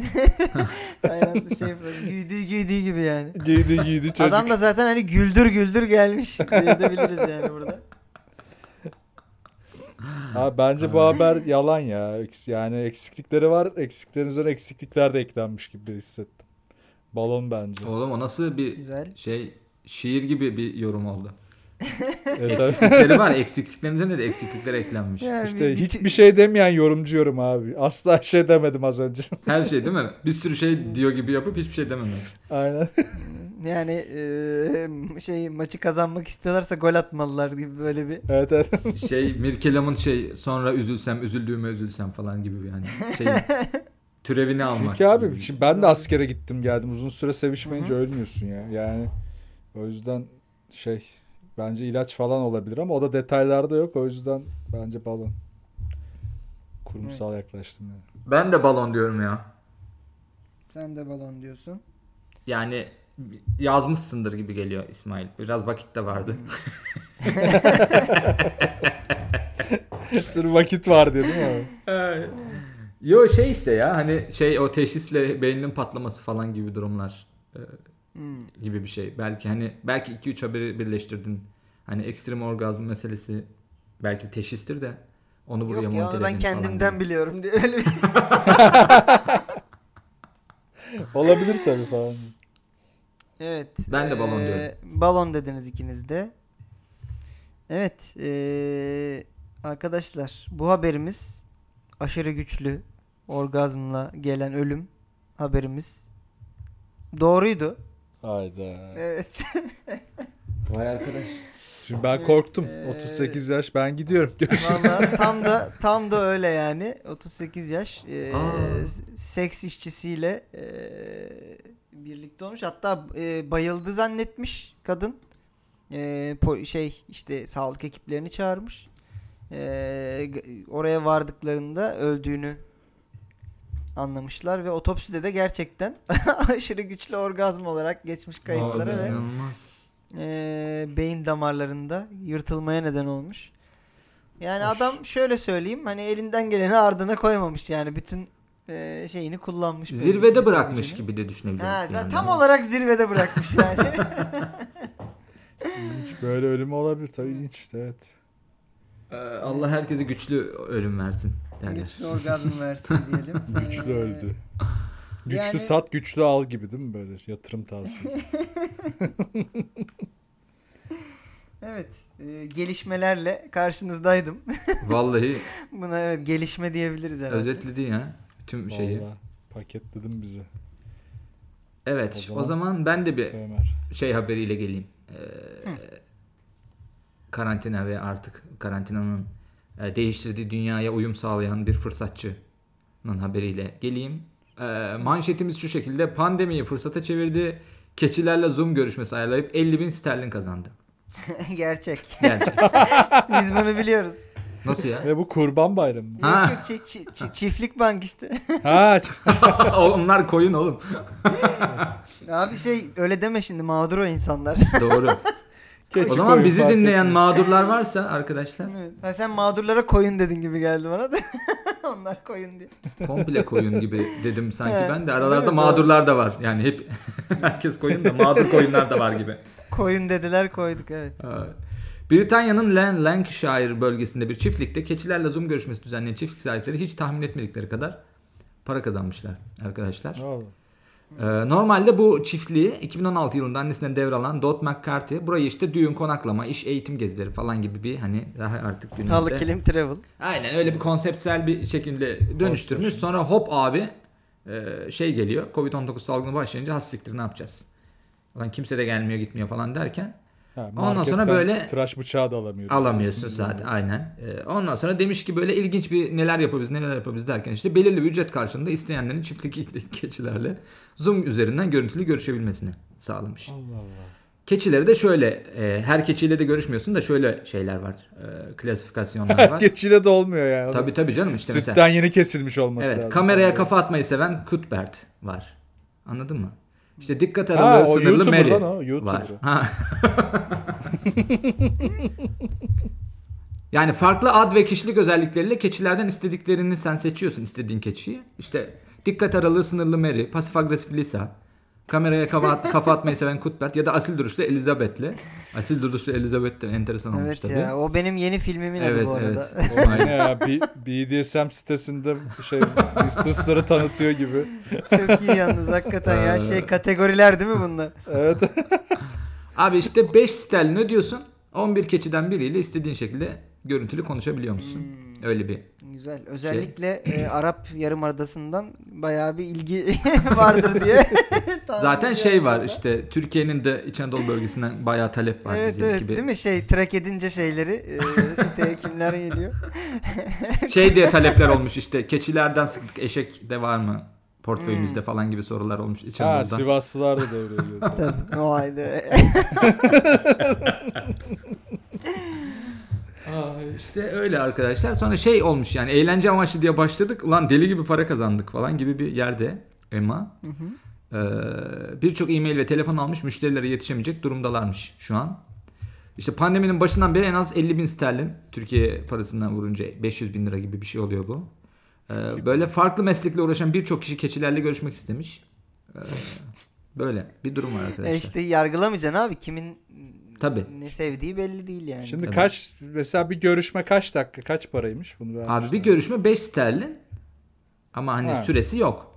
[SPEAKER 1] *laughs* Tayland'ın şey falan, güldüğü güldüğü gibi yani.
[SPEAKER 2] Giydi giydi çocuk.
[SPEAKER 1] Adam da zaten hani güldür güldür gelmiş
[SPEAKER 2] *laughs*
[SPEAKER 1] diyebiliriz yani burada.
[SPEAKER 2] Ha, bence bu haber yalan ya. Eks- Yani eksiklikleri var. Eksiklerin üzerine eksiklikler de eklenmiş gibi hissettim.
[SPEAKER 1] *laughs*
[SPEAKER 2] Balon bence.
[SPEAKER 3] Oğlum o nasıl bir
[SPEAKER 1] Güzel.
[SPEAKER 3] şey şiir gibi bir yorum oldu.
[SPEAKER 2] E, tabii.
[SPEAKER 3] Eksiklikleri var eksikliklerin üzerine de eksiklikler eklenmiş.
[SPEAKER 1] Yani
[SPEAKER 2] İşte
[SPEAKER 1] bir-
[SPEAKER 2] hiçbir şey demeyen yorumcu yorum abi. Asla şey demedim az önce. *laughs*
[SPEAKER 3] Her şey değil mi? Bir sürü şey diyor gibi yapıp hiçbir şey dememek.
[SPEAKER 2] Aynen.
[SPEAKER 1] Yani eee, şey maçı kazanmak istiyorlarsa gol atmalılar gibi böyle bir.
[SPEAKER 2] Evet evet.
[SPEAKER 3] Şey Mirkelam'ın şey sonra üzülsem üzüldüğüme üzülsem falan gibi yani. Şey, türevini almak.
[SPEAKER 2] Çünkü abi şey-
[SPEAKER 3] gibi.
[SPEAKER 2] şimdi ben de askere gittim geldim. Uzun süre sevişmeyince ölmüyorsun ya. Yani o yüzden şey bence ilaç falan olabilir ama o da detaylarda yok. O yüzden bence balon. Kurumsal yaklaştım yani. *laughs*
[SPEAKER 3] Ben de balon diyorum ya.
[SPEAKER 1] Sen de balon diyorsun.
[SPEAKER 3] Yani yazmışsındır gibi geliyor İsmail. Biraz vakit de vardı.
[SPEAKER 2] Sırf vakit var diye değil mi abi?
[SPEAKER 3] Yo şey işte ya hani şey o teşhisle beynin patlaması falan gibi durumlar e,
[SPEAKER 1] Hmm.
[SPEAKER 3] gibi bir şey. Belki hani belki 2 3 haberi birleştirdin. Hani ekstrem orgazm meselesi belki bir teşhistir de onu buraya
[SPEAKER 1] Yok
[SPEAKER 3] monte
[SPEAKER 1] ya onu ben
[SPEAKER 3] edin falan
[SPEAKER 1] kendimden
[SPEAKER 3] gibi.
[SPEAKER 1] biliyorum diye
[SPEAKER 3] *laughs*
[SPEAKER 1] öyle bir.
[SPEAKER 2] Olabilir tabii falan.
[SPEAKER 1] Evet.
[SPEAKER 3] Ben de balon
[SPEAKER 1] eee,
[SPEAKER 3] diyorum.
[SPEAKER 1] Balon dediniz ikiniz de. Evet. eee, arkadaşlar bu haberimiz aşırı güçlü orgazmla gelen ölüm haberimiz doğruydu.
[SPEAKER 2] Hayda.
[SPEAKER 1] Evet. *laughs*
[SPEAKER 3] Vay arkadaş.
[SPEAKER 2] Şimdi ben korktum.
[SPEAKER 1] Ee,
[SPEAKER 2] 38 yaş. Ben gidiyorum. Görüşürüz.
[SPEAKER 1] Vallahi tam da tam da öyle yani. 38 yaş e,
[SPEAKER 3] Aa.
[SPEAKER 1] s- seks işçisiyle e, birlikte olmuş. Hatta e, bayıldı zannetmiş kadın. E, po- şey işte sağlık ekiplerini çağırmış. E, g- oraya vardıklarında öldüğünü anlamışlar ve otopside de gerçekten *laughs* aşırı güçlü orgazm olarak geçmiş kayıtlara
[SPEAKER 2] be.
[SPEAKER 1] ve
[SPEAKER 3] İnanılmaz.
[SPEAKER 1] e, beyin damarlarında yırtılmaya neden olmuş. Yani
[SPEAKER 2] Hoş.
[SPEAKER 1] adam şöyle söyleyeyim hani elinden geleni ardına koymamış yani bütün e, şeyini kullanmış. belli ki
[SPEAKER 3] Zirvede bırakmış
[SPEAKER 1] teknolojini.
[SPEAKER 3] gibi de düşünebiliriz.
[SPEAKER 1] şey Ha, za-
[SPEAKER 3] yani.
[SPEAKER 1] tam olarak zirvede
[SPEAKER 3] *laughs*
[SPEAKER 1] bırakmış yani.
[SPEAKER 2] İlginç. Böyle ölümü olabilir. Tabii ilginç işte evet.
[SPEAKER 3] Ee, Allah herkese güçlü ölüm versin derler.
[SPEAKER 1] Güçlü orgazm versin diyelim.
[SPEAKER 2] Güçlü
[SPEAKER 1] Ee,
[SPEAKER 2] öldü. Güçlü
[SPEAKER 1] yani-
[SPEAKER 2] sat, güçlü al gibi değil mi böyle yatırım tavsiyesi?
[SPEAKER 1] Evet. e, gelişmelerle karşınızdaydım. *laughs*
[SPEAKER 3] Vallahi
[SPEAKER 1] Buna evet gelişme diyebiliriz herhalde.
[SPEAKER 3] özetledi ya tüm şeyi.
[SPEAKER 2] Vallahi paketledin bizi
[SPEAKER 3] Evet
[SPEAKER 2] O
[SPEAKER 3] o
[SPEAKER 2] zaman-
[SPEAKER 3] zaman, ben de bir
[SPEAKER 2] Ömer.
[SPEAKER 3] şey haberiyle geleyim. Ee, karantina ve artık karantinanın e, değiştirdiği dünyaya uyum sağlayan bir fırsatçının haberiyle geleyim. Ee, manşetimiz şu şekilde pandemiyi fırsata çevirdi. Keçilerle Zoom görüşmesi ayarlayıp 50 bin sterlin kazandı.
[SPEAKER 1] *laughs* Gerçek.
[SPEAKER 3] Gerçek.
[SPEAKER 1] Biz bunu biliyoruz.
[SPEAKER 3] *laughs* Nasıl ya? *laughs*
[SPEAKER 2] Ve bu kurban bayramı mı?
[SPEAKER 3] Ha.
[SPEAKER 1] Yok yok, çi- çi- çi- çiftlik bank işte. *laughs*
[SPEAKER 2] ha
[SPEAKER 3] *laughs* Onlar koyun oğlum.
[SPEAKER 1] Abi şey öyle deme şimdi mağdur o insanlar.
[SPEAKER 3] Doğru.
[SPEAKER 2] keçi
[SPEAKER 3] o zaman
[SPEAKER 2] koyun
[SPEAKER 3] bizi
[SPEAKER 2] fark
[SPEAKER 3] dinleyen
[SPEAKER 2] etmez.
[SPEAKER 3] mağdurlar varsa arkadaşlar
[SPEAKER 1] Evet. Ha, sen mağdurlara koyun dedin gibi geldi bana da. *laughs* Onlar koyun diye.
[SPEAKER 3] komple koyun gibi dedim sanki
[SPEAKER 1] Evet.
[SPEAKER 3] ben de.
[SPEAKER 1] Değil mi?
[SPEAKER 3] Aralarda
[SPEAKER 1] Doğru.
[SPEAKER 3] mağdurlar da var. Yani hep *laughs* herkes koyun da mağdur koyunlar da var gibi.
[SPEAKER 1] Koyun dediler koyduk evet.
[SPEAKER 3] Ee, Britanya'nın Lan- Lancashire bölgesinde bir çiftlikte keçilerle Zoom görüşmesi düzenleyen çiftlik sahipleri hiç tahmin etmedikleri kadar para kazanmışlar arkadaşlar.
[SPEAKER 2] Vallahi.
[SPEAKER 3] Ee, normalde bu çiftliği 2016 yılında annesinden devralan Dot McCarthy burayı işte düğün konaklama, iş eğitim gezileri falan gibi bir hani daha artık günümüzde.
[SPEAKER 1] Halı kilim travel.
[SPEAKER 3] Aynen öyle bir konseptsel bir şekilde dönüştürmüş.
[SPEAKER 2] Konsepsiyon.
[SPEAKER 3] Sonra hop abi e, şey geliyor. Covid-19 salgını başlayınca has siktir ne yapacağız? Ulan kimse de gelmiyor gitmiyor falan derken
[SPEAKER 2] Ha,
[SPEAKER 3] Ondan sonra
[SPEAKER 2] marketten
[SPEAKER 3] böyle-
[SPEAKER 2] tıraş bıçağı da alamıyoruz.
[SPEAKER 3] alamıyorsun zaten aynen. E, ondan sonra demiş ki böyle ilginç bir neler yapabiliriz neler yapabiliriz derken işte belirli bir ücret karşılığında isteyenlerin çiftlik *laughs* keçilerle Zoom üzerinden görüntülü görüşebilmesini sağlamış.
[SPEAKER 2] Allah Allah.
[SPEAKER 3] Keçileri de şöyle e, her keçiyle de görüşmüyorsun da şöyle şeyler var. E, klasifikasyonlar
[SPEAKER 2] *laughs*
[SPEAKER 3] var.
[SPEAKER 2] Keçiyle de olmuyor yani.
[SPEAKER 3] Tabii tabii canım işte
[SPEAKER 2] Sütten
[SPEAKER 3] mesela.
[SPEAKER 2] yeni kesilmiş olması
[SPEAKER 3] Evet
[SPEAKER 2] lazım.
[SPEAKER 3] kameraya kafa atmayı seven Cuthbert var. Anladın mı? İşte dikkat
[SPEAKER 2] Ha,
[SPEAKER 3] aralığı
[SPEAKER 2] o
[SPEAKER 3] sınırlı
[SPEAKER 2] YouTuber
[SPEAKER 3] Mary
[SPEAKER 2] lan o. YouTuber.
[SPEAKER 3] var. Ha. yani farklı ad ve kişilik özellikleriyle keçilerden istediklerini sen seçiyorsun istediğin keçiyi. İşte dikkat aralığı sınırlı Mary, pasif agresif Lisa, kameraya kafa, at- kafa atmayı seven Cuthbert ya da asil duruşlu Elizabeth'le. Asil duruşlu Elizabeth de enteresan olmuş
[SPEAKER 1] Evet
[SPEAKER 3] tabii.
[SPEAKER 1] ya o benim yeni filmimin adı
[SPEAKER 3] Evet
[SPEAKER 1] bu arada.
[SPEAKER 3] evet.
[SPEAKER 2] O
[SPEAKER 3] İsmail.
[SPEAKER 2] ne ya? B- BDSM sitesinde şey Mistress'ları tanıtıyor gibi.
[SPEAKER 1] *laughs* Çok iyi yalnız hakikaten ya
[SPEAKER 3] Ee.
[SPEAKER 1] şey kategoriler değil mi
[SPEAKER 3] *laughs*
[SPEAKER 1] bunlar?
[SPEAKER 2] Evet.
[SPEAKER 3] Abi işte 5 sterlin ödüyorsun. 11 keçiden biriyle istediğin şekilde görüntülü konuşabiliyor musun? Öyle bir.
[SPEAKER 1] Güzel. Şey- Özellikle
[SPEAKER 3] *clears throat*
[SPEAKER 1] e, Arap Yarımadası'ndan bayağı bir ilgi *laughs* vardır
[SPEAKER 3] *laughs*
[SPEAKER 1] diye. tahmin
[SPEAKER 3] Zaten
[SPEAKER 1] ediyorum
[SPEAKER 3] şey var
[SPEAKER 1] ben.
[SPEAKER 3] işte Türkiye'nin de İç Anadolu bölgesinden bayağı talep var
[SPEAKER 1] Evet
[SPEAKER 3] bizim
[SPEAKER 1] evet
[SPEAKER 3] gibi.
[SPEAKER 1] değil mi şey track edince şeyleri
[SPEAKER 3] *laughs*
[SPEAKER 1] e, siteye kimler geliyor?
[SPEAKER 3] Şey diye talepler
[SPEAKER 1] *laughs*
[SPEAKER 3] olmuş işte keçilerden sıklık eşek de var mı
[SPEAKER 1] Hmm.
[SPEAKER 3] portföyümüzde falan gibi sorular olmuş İç
[SPEAKER 2] ha
[SPEAKER 3] Anadolu'dan.
[SPEAKER 2] Sivaslılar da devreye
[SPEAKER 3] *laughs*
[SPEAKER 2] giriyor.
[SPEAKER 1] Tabii o halde.
[SPEAKER 3] Aa, işte öyle arkadaşlar. Sonra şey olmuş yani eğlence amaçlı diye başladık. Ulan deli gibi para kazandık falan gibi bir yerde Emma. Ee, Birçok e-mail ve telefon almış müşterilere yetişemeyecek durumdalarmış şu an. İşte pandeminin başından beri en az 50 bin sterlin Türkiye parasından vurunca 500 bin lira gibi bir şey oluyor bu. Ee, böyle farklı meslekle uğraşan birçok kişi keçilerle görüşmek istemiş. Ee, böyle bir durum var arkadaşlar.
[SPEAKER 1] e işte yargılamayacaksın abi kimin
[SPEAKER 3] Tabii.
[SPEAKER 1] ne sevdiği belli değil yani.
[SPEAKER 2] Şimdi
[SPEAKER 3] Tabii.
[SPEAKER 2] kaç mesela bir görüşme kaç dakika kaç paraymış bunu ben
[SPEAKER 3] Abi bir
[SPEAKER 2] düşünüyorum.
[SPEAKER 3] görüşme 5 sterlin ama hani
[SPEAKER 2] Ha.
[SPEAKER 3] süresi yok.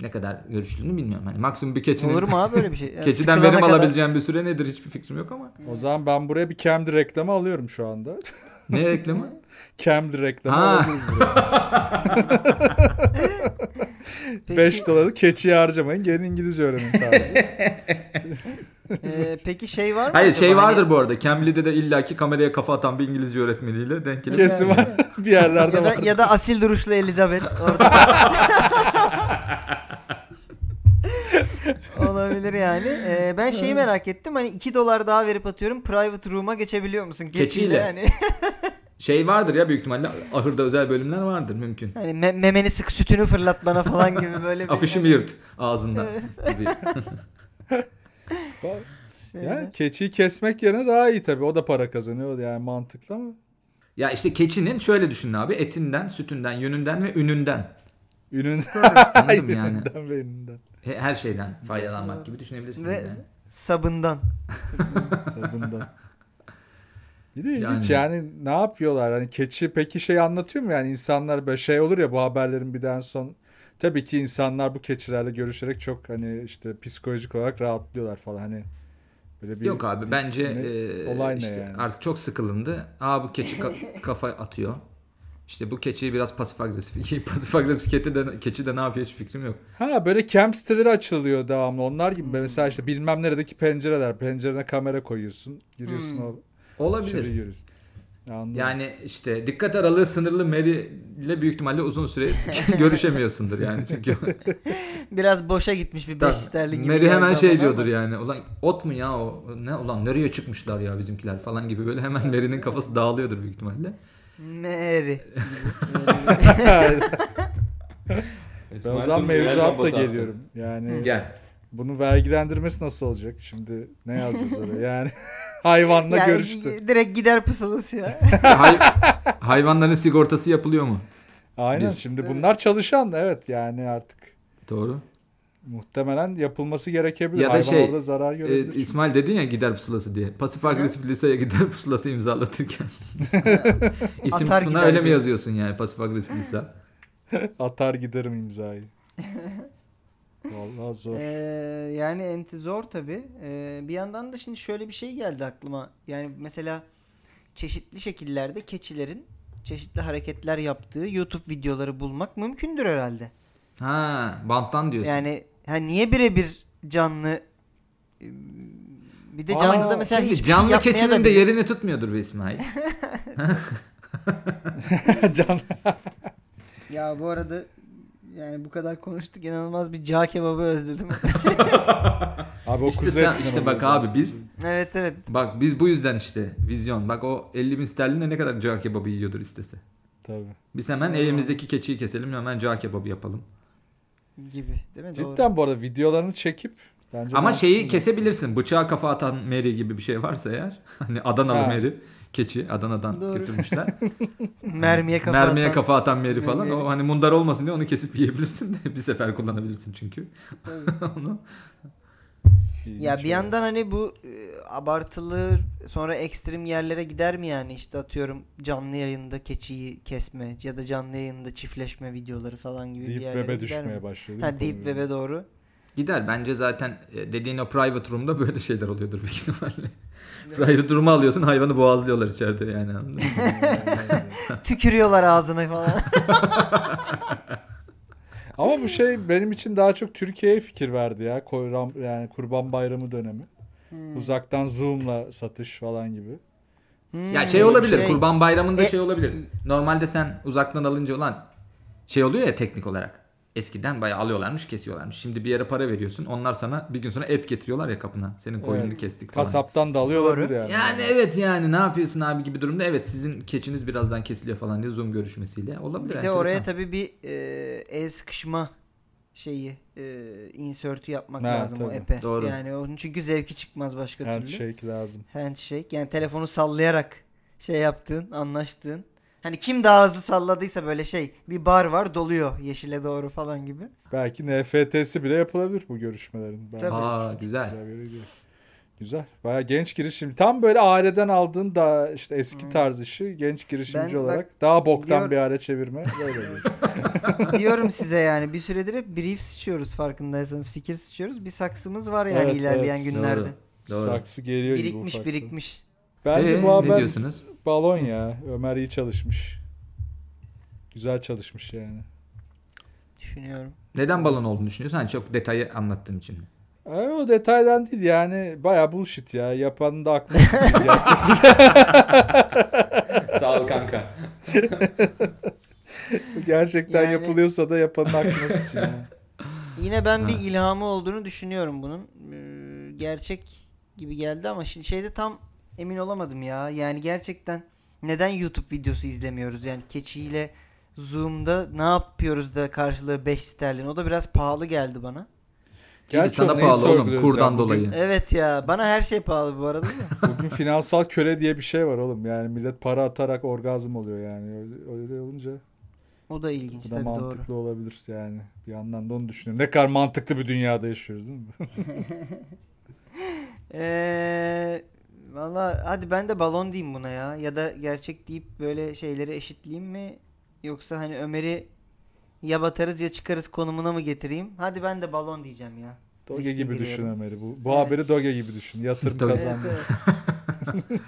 [SPEAKER 3] Ne kadar görüştüğünü bilmiyorum. Hani maksimum bir keçinin,
[SPEAKER 1] Olur mu abi böyle bir şey? Yani
[SPEAKER 3] *laughs* keçiden
[SPEAKER 1] sıkılana
[SPEAKER 3] verim
[SPEAKER 1] kadar-
[SPEAKER 3] alabileceğim bir süre nedir hiçbir fikrim yok ama.
[SPEAKER 2] O zaman ben buraya bir Camd reklamı alıyorum şu anda. *laughs*
[SPEAKER 3] Ne reklamı?
[SPEAKER 2] Camd reklamı
[SPEAKER 3] Ha.
[SPEAKER 2] alabiliriz buraya.
[SPEAKER 1] Peki, *laughs*
[SPEAKER 2] 5 doları keçiye harcamayın. Gelin İngilizce öğrenin tarzı.
[SPEAKER 1] Ee, peki şey var mı?
[SPEAKER 3] *laughs* Hayır
[SPEAKER 1] acaba?
[SPEAKER 3] şey
[SPEAKER 1] Hani-
[SPEAKER 3] vardır bu arada. Cambly'de de illaki kameraya kafa atan bir İngilizce öğretmeniyle denk gelir.
[SPEAKER 2] Kesin var. *laughs* bir yerlerde
[SPEAKER 1] ya da,
[SPEAKER 2] var.
[SPEAKER 1] ya da asil duruşlu Elizabeth
[SPEAKER 3] *laughs*
[SPEAKER 1] orada. Olabilir yani. Ee, ben şeyi merak ettim. Hani 2 dolar daha verip atıyorum. Private room'a geçebiliyor musun?
[SPEAKER 3] Keçiyle.
[SPEAKER 1] Yani. *laughs*
[SPEAKER 3] Şey vardır ya büyük ihtimalle ahırda özel bölümler vardır mümkün.
[SPEAKER 1] hani me- memeni sık sütünü fırlat bana falan gibi böyle bir
[SPEAKER 3] *laughs* Afişimi yırt ağzından. *laughs* gibi.
[SPEAKER 1] şey.
[SPEAKER 2] Yani keçiyi kesmek yerine daha iyi tabii. O da para kazanıyor yani mantıklı ama.
[SPEAKER 3] ya işte keçinin şöyle düşünün abi etinden, sütünden, yönünden
[SPEAKER 1] *laughs*
[SPEAKER 3] ve ününden.
[SPEAKER 2] *laughs* Ününden,
[SPEAKER 3] Anladım yani.
[SPEAKER 2] ününden ve ününden.
[SPEAKER 3] He- Her şeyden faydalanmak gibi düşünebilirsiniz.
[SPEAKER 1] Ve
[SPEAKER 3] yani.
[SPEAKER 1] sabından.
[SPEAKER 2] Sabundan. Bir de
[SPEAKER 3] Yani.
[SPEAKER 2] ilginç yani. ne yapıyorlar hani keçi peki şey anlatıyor mu yani insanlar böyle şey olur ya bu haberlerin bir daha son tabii ki insanlar bu keçilerle görüşerek çok hani işte psikolojik olarak rahatlıyorlar falan hani böyle bir
[SPEAKER 3] Yok abi bence
[SPEAKER 2] ne-
[SPEAKER 3] e,
[SPEAKER 2] olay ne
[SPEAKER 3] işte
[SPEAKER 2] yani?
[SPEAKER 3] artık çok sıkılındı. Aa bu keçi
[SPEAKER 1] *laughs*
[SPEAKER 3] ka- kafa atıyor. İşte bu keçiyi biraz pasif agresif. pasif agresif keçi de, keçi de ne yapıyor hiç fikrim yok.
[SPEAKER 2] Ha böyle kamp siteleri açılıyor devamlı onlar gibi
[SPEAKER 3] Hmm.
[SPEAKER 2] mesela işte bilmem neredeki pencereler pencerene kamera koyuyorsun giriyorsun
[SPEAKER 1] Hmm.
[SPEAKER 2] o
[SPEAKER 3] Olabilir.
[SPEAKER 2] içeri giriyorsun. Anladım. *laughs*
[SPEAKER 3] Yani işte dikkat aralığı sınırlı Mary ile büyük ihtimalle uzun süre
[SPEAKER 1] *laughs*
[SPEAKER 3] görüşemiyorsundur yani. Çünkü *laughs*
[SPEAKER 1] Biraz boşa gitmiş bir 5 sterlin gibi.
[SPEAKER 3] Mary
[SPEAKER 1] geldi
[SPEAKER 3] hemen
[SPEAKER 1] bana
[SPEAKER 3] şey
[SPEAKER 1] ama.
[SPEAKER 3] diyordur yani. Ulan ot mu ya o? Ne ulan nereye çıkmışlar ya bizimkiler falan gibi böyle hemen Mary'nin kafası dağılıyordur büyük ihtimalle.
[SPEAKER 1] Mary.
[SPEAKER 2] Ben o zaman mevzuatla geliyorum yani
[SPEAKER 3] Gel.
[SPEAKER 2] Bunu vergilendirmesi nasıl olacak? Şimdi ne yazacağız oraya? Yani *laughs* hayvanla
[SPEAKER 1] Ya,
[SPEAKER 2] görüştü.
[SPEAKER 1] direkt gider pusulası ya.
[SPEAKER 3] E, Hay- *laughs* hayvanların sigortası yapılıyor mu?
[SPEAKER 2] Aynen.
[SPEAKER 3] Biz-
[SPEAKER 2] Şimdi bunlar çalışan evet yani artık
[SPEAKER 3] Doğru. E,
[SPEAKER 2] muhtemelen yapılması gerekebilir.
[SPEAKER 3] Ya da
[SPEAKER 2] Hayvan
[SPEAKER 3] şey,
[SPEAKER 2] orada zarar
[SPEAKER 3] Ee,
[SPEAKER 2] görebilir. çünkü.
[SPEAKER 3] İsmail dedin ya gider pusulası diye. Pasif agresif liseye gider
[SPEAKER 2] *laughs*
[SPEAKER 3] pusulası imzalatırken. İsim
[SPEAKER 1] Atar
[SPEAKER 3] kısmına
[SPEAKER 1] gider
[SPEAKER 3] öyle mi
[SPEAKER 1] diyorsun.
[SPEAKER 3] yazıyorsun yani pasif agresif lise?
[SPEAKER 2] *laughs* Atar giderim
[SPEAKER 3] *laughs*
[SPEAKER 2] imzayı. Vallahi zor.
[SPEAKER 1] Ee, yani enti zor tabi. bir yandan da şimdi şöyle bir şey geldi aklıma. Yani mesela çeşitli şekillerde keçilerin çeşitli hareketler yaptığı YouTube videoları bulmak mümkündür herhalde.
[SPEAKER 3] Ha, banttan diyorsun.
[SPEAKER 1] Yani ha niye birebir canlı e, bir de
[SPEAKER 2] Aa,
[SPEAKER 1] canlıda mesela
[SPEAKER 3] Şimdi
[SPEAKER 1] hiçbir
[SPEAKER 3] canlı
[SPEAKER 1] şey yapmaya da
[SPEAKER 3] keçinin de
[SPEAKER 1] bilir.
[SPEAKER 3] yerini tutmuyordur be İsmail.
[SPEAKER 2] *laughs* Can.
[SPEAKER 1] Ya bu arada yani bu kadar konuştuk inanılmaz bir cağ kebabı
[SPEAKER 3] *laughs*
[SPEAKER 1] özledim.
[SPEAKER 2] Abi o
[SPEAKER 3] işte
[SPEAKER 2] kuzu
[SPEAKER 3] sen-
[SPEAKER 2] etinden
[SPEAKER 3] işte
[SPEAKER 2] oluyor
[SPEAKER 3] bak
[SPEAKER 2] zaten.
[SPEAKER 3] abi biz
[SPEAKER 1] evet evet.
[SPEAKER 3] bak biz bu yüzden işte vizyon. Bak o 50 bin sterlinle ne kadar cağ kebabı yiyordur istese.
[SPEAKER 2] Tabii.
[SPEAKER 3] Biz hemen
[SPEAKER 1] Hmm.
[SPEAKER 3] elimizdeki keçiyi keselim hemen cağ kebabı yapalım.
[SPEAKER 1] gibi değil mi? Doğru.
[SPEAKER 2] Cidden bu arada videolarını çekip bence
[SPEAKER 3] Ama
[SPEAKER 2] mantıklı.
[SPEAKER 3] şeyi kesebilirsin. Bıçağa kafa atan Mary gibi bir şey varsa eğer. *laughs* Hani Adanalı
[SPEAKER 2] Ha.
[SPEAKER 3] Mary. Keçi Adana'dan
[SPEAKER 1] Doğru. *laughs*
[SPEAKER 3] götürmüşler.
[SPEAKER 1] Mermiye kafa
[SPEAKER 3] Mermiye
[SPEAKER 1] atan.
[SPEAKER 3] kafa atan Mary falan.
[SPEAKER 1] Mary.
[SPEAKER 3] O hani mundar olmasın diye onu kesip yiyebilirsin de *laughs* bir sefer kullanabilirsin çünkü.
[SPEAKER 1] Tabii.
[SPEAKER 3] onu.
[SPEAKER 2] İlginç
[SPEAKER 1] Ya bir
[SPEAKER 2] olay.
[SPEAKER 1] yandan hani bu e, abartılır sonra ekstrem yerlere gider mi yani işte atıyorum canlı yayında keçiyi kesme ya da canlı yayında çiftleşme videoları falan gibi
[SPEAKER 2] Deep
[SPEAKER 1] bir yerlere
[SPEAKER 2] web'e
[SPEAKER 1] gider
[SPEAKER 2] düşmeye
[SPEAKER 1] mi?
[SPEAKER 2] başlıyor. değil mi
[SPEAKER 1] Ha deep
[SPEAKER 2] konu?
[SPEAKER 1] web'e
[SPEAKER 2] *laughs*
[SPEAKER 1] doğru. *laughs*
[SPEAKER 3] Gider bence zaten e, dediğin o private room'da böyle şeyler oluyordur
[SPEAKER 1] *laughs*
[SPEAKER 3] büyük ihtimalle. private room'u alıyorsun hayvanı boğazlıyorlar içeride yani. anladın mı?
[SPEAKER 1] Tükürüyorlar ağzına
[SPEAKER 2] *laughs*
[SPEAKER 1] falan.
[SPEAKER 2] Ama bu şey benim için daha çok Türkiye'ye fikir verdi ya. Koyram, yani Kurban Bayramı dönemi. Uzaktan Zoom'la satış falan gibi.
[SPEAKER 1] Hmm,
[SPEAKER 3] ya şey olabilir
[SPEAKER 1] şey.
[SPEAKER 3] kurban bayramında
[SPEAKER 1] E-
[SPEAKER 3] şey olabilir. Normalde sen uzaktan alınca olan şey oluyor ya teknik olarak. Eskiden bayağı alıyorlarmış kesiyorlarmış. Şimdi bir yere para veriyorsun onlar sana bir gün sonra et getiriyorlar ya kapına. Senin koyununu
[SPEAKER 2] Evet.
[SPEAKER 3] kestik falan.
[SPEAKER 2] Kasaptan da alıyor
[SPEAKER 1] Doğru.
[SPEAKER 2] olabilir yani.
[SPEAKER 3] Yani evet yani ne yapıyorsun abi gibi durumda evet sizin keçiniz birazdan kesiliyor falan diye zoom görüşmesiyle olabilir.
[SPEAKER 1] Bir de
[SPEAKER 3] enteresan.
[SPEAKER 1] oraya tabii bir e, el sıkışma şeyi e, insert'ü yapmak
[SPEAKER 2] Ha,
[SPEAKER 1] lazım o
[SPEAKER 2] tabii.
[SPEAKER 1] epe.
[SPEAKER 3] Doğru.
[SPEAKER 1] Yani onun çünkü zevki çıkmaz başka türlü.
[SPEAKER 2] Handshake şey lazım.
[SPEAKER 1] Handshake yani telefonu sallayarak şey yaptığın, anlaştığın. Hani kim daha hızlı salladıysa böyle şey bir bar var doluyor yeşile doğru falan
[SPEAKER 2] *laughs*
[SPEAKER 1] gibi.
[SPEAKER 2] Belki NFT'si bile yapılabilir bu görüşmelerin. Ben-
[SPEAKER 1] Tabii.
[SPEAKER 3] Aa, güzel.
[SPEAKER 2] Güzel. bir hediye. Güzel. Baya genç girişim. Tam böyle aileden aldığın da işte
[SPEAKER 3] Hmm.
[SPEAKER 2] eski tarz işi genç girişimci
[SPEAKER 1] Ben bak-
[SPEAKER 2] olarak daha boktan
[SPEAKER 1] diyor-
[SPEAKER 2] bir hale çevirme. Böyle bir.
[SPEAKER 1] Diyorum size yani bir süredir hep brief sıçıyoruz farkındaysanız fikir sıçıyoruz. Bir saksımız var yani
[SPEAKER 2] Evet,
[SPEAKER 1] ilerleyen
[SPEAKER 2] evet.
[SPEAKER 1] günlerde.
[SPEAKER 3] *laughs* Doğru.
[SPEAKER 2] Saksı geliyor gibi
[SPEAKER 1] Birikmiş
[SPEAKER 2] ufaktan.
[SPEAKER 1] birikmiş.
[SPEAKER 2] Bence
[SPEAKER 3] Ee,
[SPEAKER 2] bu
[SPEAKER 3] ne
[SPEAKER 2] haber
[SPEAKER 3] diyorsunuz?
[SPEAKER 2] balon ya. Ömer iyi çalışmış. Güzel çalışmış yani.
[SPEAKER 1] Düşünüyorum.
[SPEAKER 3] Neden balon olduğunu düşünüyorsun? Hani çok detayı anlattığım için mi?
[SPEAKER 2] Ay, o detaydan değil yani baya bullshit ya. Yapanın da aklına
[SPEAKER 3] *laughs*
[SPEAKER 2] sıkıyor gerçekten.
[SPEAKER 3] Sağ ol kanka.
[SPEAKER 2] Gerçekten
[SPEAKER 1] Yani-
[SPEAKER 2] yapılıyorsa da yapanın aklına sıçıyor.
[SPEAKER 1] Yine ben bir ilhamı olduğunu düşünüyorum bunun. Ee, Gerçek gibi geldi ama şimdi şeyde tam emin olamadım ya. Yani gerçekten neden YouTube videosu izlemiyoruz? Yani keçiyle Zoom'da ne yapıyoruz da karşılığı 5 sterlin. O da biraz pahalı geldi bana.
[SPEAKER 2] Gerçi
[SPEAKER 3] sana
[SPEAKER 2] neyi
[SPEAKER 3] pahalı oğlum
[SPEAKER 2] sorguluyoruz
[SPEAKER 3] kurdan
[SPEAKER 2] ya? Bugün-
[SPEAKER 3] dolayı.
[SPEAKER 1] Evet ya bana her şey pahalı bu arada. da.
[SPEAKER 2] Bugün finansal köle diye bir şey var oğlum. Yani millet para atarak orgazm oluyor yani. Öyle, öyle olunca
[SPEAKER 1] O da ilginç
[SPEAKER 2] bu da
[SPEAKER 1] tabii doğru.
[SPEAKER 2] mantıklı olabilir yani. Bir yandan da onu düşünüyorum. Ne kadar mantıklı bir dünyada yaşıyoruz değil mi? *laughs*
[SPEAKER 1] Eee Ee, Valla hadi ben de balon diyeyim buna ya. Ya da gerçek deyip böyle şeyleri eşitleyeyim mi? Yoksa hani Ömer'i ya batarız ya çıkarız konumuna mı getireyim? Hadi ben de balon diyeceğim ya.
[SPEAKER 2] Doge
[SPEAKER 1] Riske
[SPEAKER 2] gibi
[SPEAKER 1] giriyorum.
[SPEAKER 2] düşün Ömer'i. Bu, bu
[SPEAKER 1] Evet.
[SPEAKER 2] haberi Doge gibi düşün. Yatırım
[SPEAKER 3] Doge.
[SPEAKER 1] Evet,
[SPEAKER 2] kazandı.
[SPEAKER 1] evet.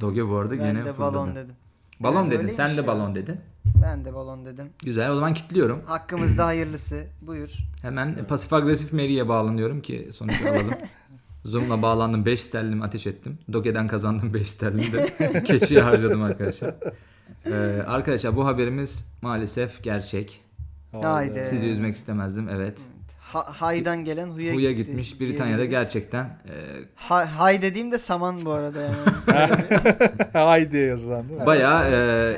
[SPEAKER 3] Doge bu arada
[SPEAKER 1] ben
[SPEAKER 3] gene
[SPEAKER 1] de
[SPEAKER 3] fırladı.
[SPEAKER 1] balon dedim.
[SPEAKER 3] Balon
[SPEAKER 1] Evet,
[SPEAKER 3] dedin.
[SPEAKER 1] öyleymiş
[SPEAKER 3] Sen de
[SPEAKER 1] ya.
[SPEAKER 3] balon dedin.
[SPEAKER 1] Ben de balon dedim.
[SPEAKER 3] Güzel. O zaman kilitliyorum. *clears throat*
[SPEAKER 1] Hakkımızda hayırlısı. Buyur.
[SPEAKER 3] Hemen pasif agresif Mary'e bağlanıyorum ki sonucu
[SPEAKER 1] *laughs*
[SPEAKER 3] alalım. Zoom'la bağlandım 5 sterlinimi ateş ettim. Doge'den kazandım 5 sterlini de *laughs* keçiye harcadım arkadaşlar. Ee, arkadaşlar bu haberimiz maalesef gerçek.
[SPEAKER 1] Haydi.
[SPEAKER 2] Haydi.
[SPEAKER 3] Sizi üzmek istemezdim evet.
[SPEAKER 1] Ha- haydan gelen huya,
[SPEAKER 3] Huya
[SPEAKER 1] gitti
[SPEAKER 3] gitmiş Britanya'da
[SPEAKER 1] diyebiliriz.
[SPEAKER 3] gerçekten e,
[SPEAKER 1] Ha- hay dediğim de saman bu arada
[SPEAKER 3] *laughs*
[SPEAKER 1] yani.
[SPEAKER 2] *laughs* Haydi yazılan değil mi?
[SPEAKER 3] Bayağı e,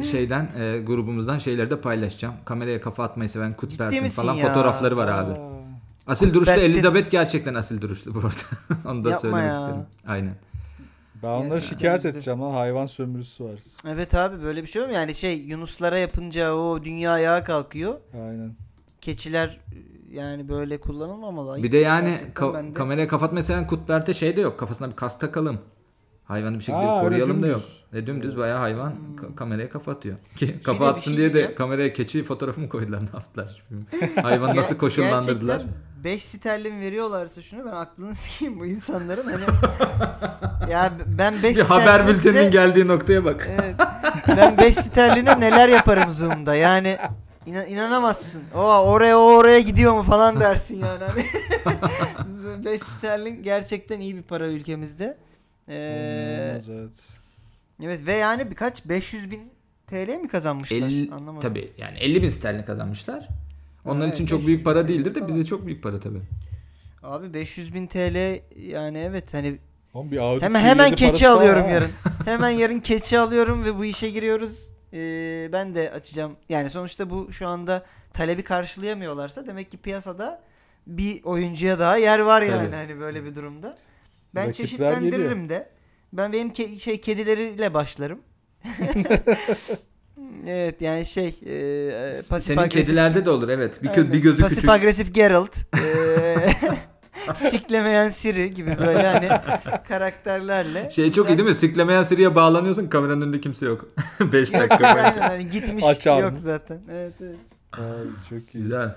[SPEAKER 3] e, şeyden e, grubumuzdan şeyleri de paylaşacağım. Kameraya kafa atmayı seven Kutbert'in
[SPEAKER 1] misin
[SPEAKER 3] falan
[SPEAKER 1] ya?
[SPEAKER 3] fotoğrafları var abi.
[SPEAKER 2] Aa.
[SPEAKER 3] Asil duruşlu
[SPEAKER 1] Kutbert'in-
[SPEAKER 3] Elizabeth gerçekten asil duruşlu bu arada. *laughs* Onu da
[SPEAKER 1] Yapma
[SPEAKER 3] söylemek
[SPEAKER 1] ya.
[SPEAKER 3] isterim. Aynen.
[SPEAKER 2] Ben onları
[SPEAKER 1] Yani-
[SPEAKER 2] şikayet edeceğim lan. Hayvan sömürüsü var.
[SPEAKER 1] evet abi böyle bir şey olur mu? Yani şey Yunuslara yapınca o dünya ayağa kalkıyor.
[SPEAKER 2] Aynen.
[SPEAKER 1] keçiler e, yani böyle kullanılmamalı.
[SPEAKER 3] Bir de yani
[SPEAKER 1] Gerçekten
[SPEAKER 3] ka-
[SPEAKER 1] ben de-
[SPEAKER 3] kameraya kafa atmayı seven Kutbert'e şey de yok. Kafasına bir kask takalım. Hayvanı bir şekilde
[SPEAKER 2] Aa, öyle
[SPEAKER 3] koruyalım da yok.
[SPEAKER 2] dümdüz.
[SPEAKER 3] E dümdüz bayağı hayvan
[SPEAKER 1] Hmm.
[SPEAKER 3] ka- kameraya kafa atıyor. *laughs* Ki kafa
[SPEAKER 1] de bir
[SPEAKER 3] atsın
[SPEAKER 1] şey
[SPEAKER 3] diye de
[SPEAKER 1] diyeceğim.
[SPEAKER 3] kameraya keçi fotoğrafı mı koydular ne yaptılar? bilmiyorum.
[SPEAKER 1] *laughs*
[SPEAKER 3] Hayvanı nasıl
[SPEAKER 1] Ger-
[SPEAKER 3] koşullandırdılar?
[SPEAKER 1] Gerçekten 5 sterlin veriyorlarsa şunu ben aklını *laughs* sikeyim bu insanların hani ya ben 5
[SPEAKER 3] Bir haber bülteninin geldiği noktaya bak.
[SPEAKER 1] Evet. Ben 5 sterline neler yaparım Zoom'da yani inan- inanamazsın. O oraya o oraya gidiyor mu falan dersin yani. Hani *laughs* 5 sterlin gerçekten iyi bir para ülkemizde. Ee,
[SPEAKER 2] İnanılmaz, evet.
[SPEAKER 1] evet ve yani birkaç 500 bin TL mi kazanmışlar?
[SPEAKER 3] 50,
[SPEAKER 1] Anlamadım.
[SPEAKER 3] tabii yani 50 bin sterlin kazanmışlar. Onlar
[SPEAKER 1] Evet,
[SPEAKER 3] için çok
[SPEAKER 1] 500
[SPEAKER 3] büyük para
[SPEAKER 1] bin
[SPEAKER 3] değildir de
[SPEAKER 1] falan.
[SPEAKER 3] bize çok büyük para tabii.
[SPEAKER 1] Abi 500 bin TL yani evet hani
[SPEAKER 2] Oğlum bir Audi
[SPEAKER 1] hemen
[SPEAKER 2] Q7
[SPEAKER 1] hemen
[SPEAKER 2] parası
[SPEAKER 1] keçi
[SPEAKER 2] daha
[SPEAKER 1] alıyorum
[SPEAKER 2] ha. *laughs*
[SPEAKER 1] yarın. Hemen yarın keçi alıyorum ve bu işe giriyoruz. Ee, ben de açacağım. Yani sonuçta bu şu anda talebi karşılayamıyorlarsa demek ki piyasada bir oyuncuya daha yer var yani
[SPEAKER 3] Tabii.
[SPEAKER 1] hani böyle bir durumda. Ben
[SPEAKER 2] Rakipler
[SPEAKER 1] çeşitlendiririm
[SPEAKER 2] geliyor.
[SPEAKER 1] de. Ben benim ke- şey kedileriyle
[SPEAKER 2] *laughs*
[SPEAKER 1] başlarım. evet yani şey e, e, pasif
[SPEAKER 3] Senin
[SPEAKER 1] agresif
[SPEAKER 3] kedilerde de olur evet. Bir, kö-
[SPEAKER 1] Aynen.
[SPEAKER 3] bir gözü
[SPEAKER 1] Pasif
[SPEAKER 3] küçük.
[SPEAKER 1] agresif Geralt. Eee, *laughs* Siklemeyen Siri gibi böyle hani karakterlerle.
[SPEAKER 3] Şey çok iyi değil mi? Siklemeyen Siri'ye bağlanıyorsun kameranın önünde kimse yok. *laughs* 5
[SPEAKER 1] *laughs*
[SPEAKER 3] dakika
[SPEAKER 1] Aynen
[SPEAKER 3] boyunca.
[SPEAKER 1] hani gitmiş
[SPEAKER 2] Açar
[SPEAKER 1] yok
[SPEAKER 2] mı?
[SPEAKER 1] zaten. Evet, evet.
[SPEAKER 2] Ay, çok iyi.
[SPEAKER 3] Güzel.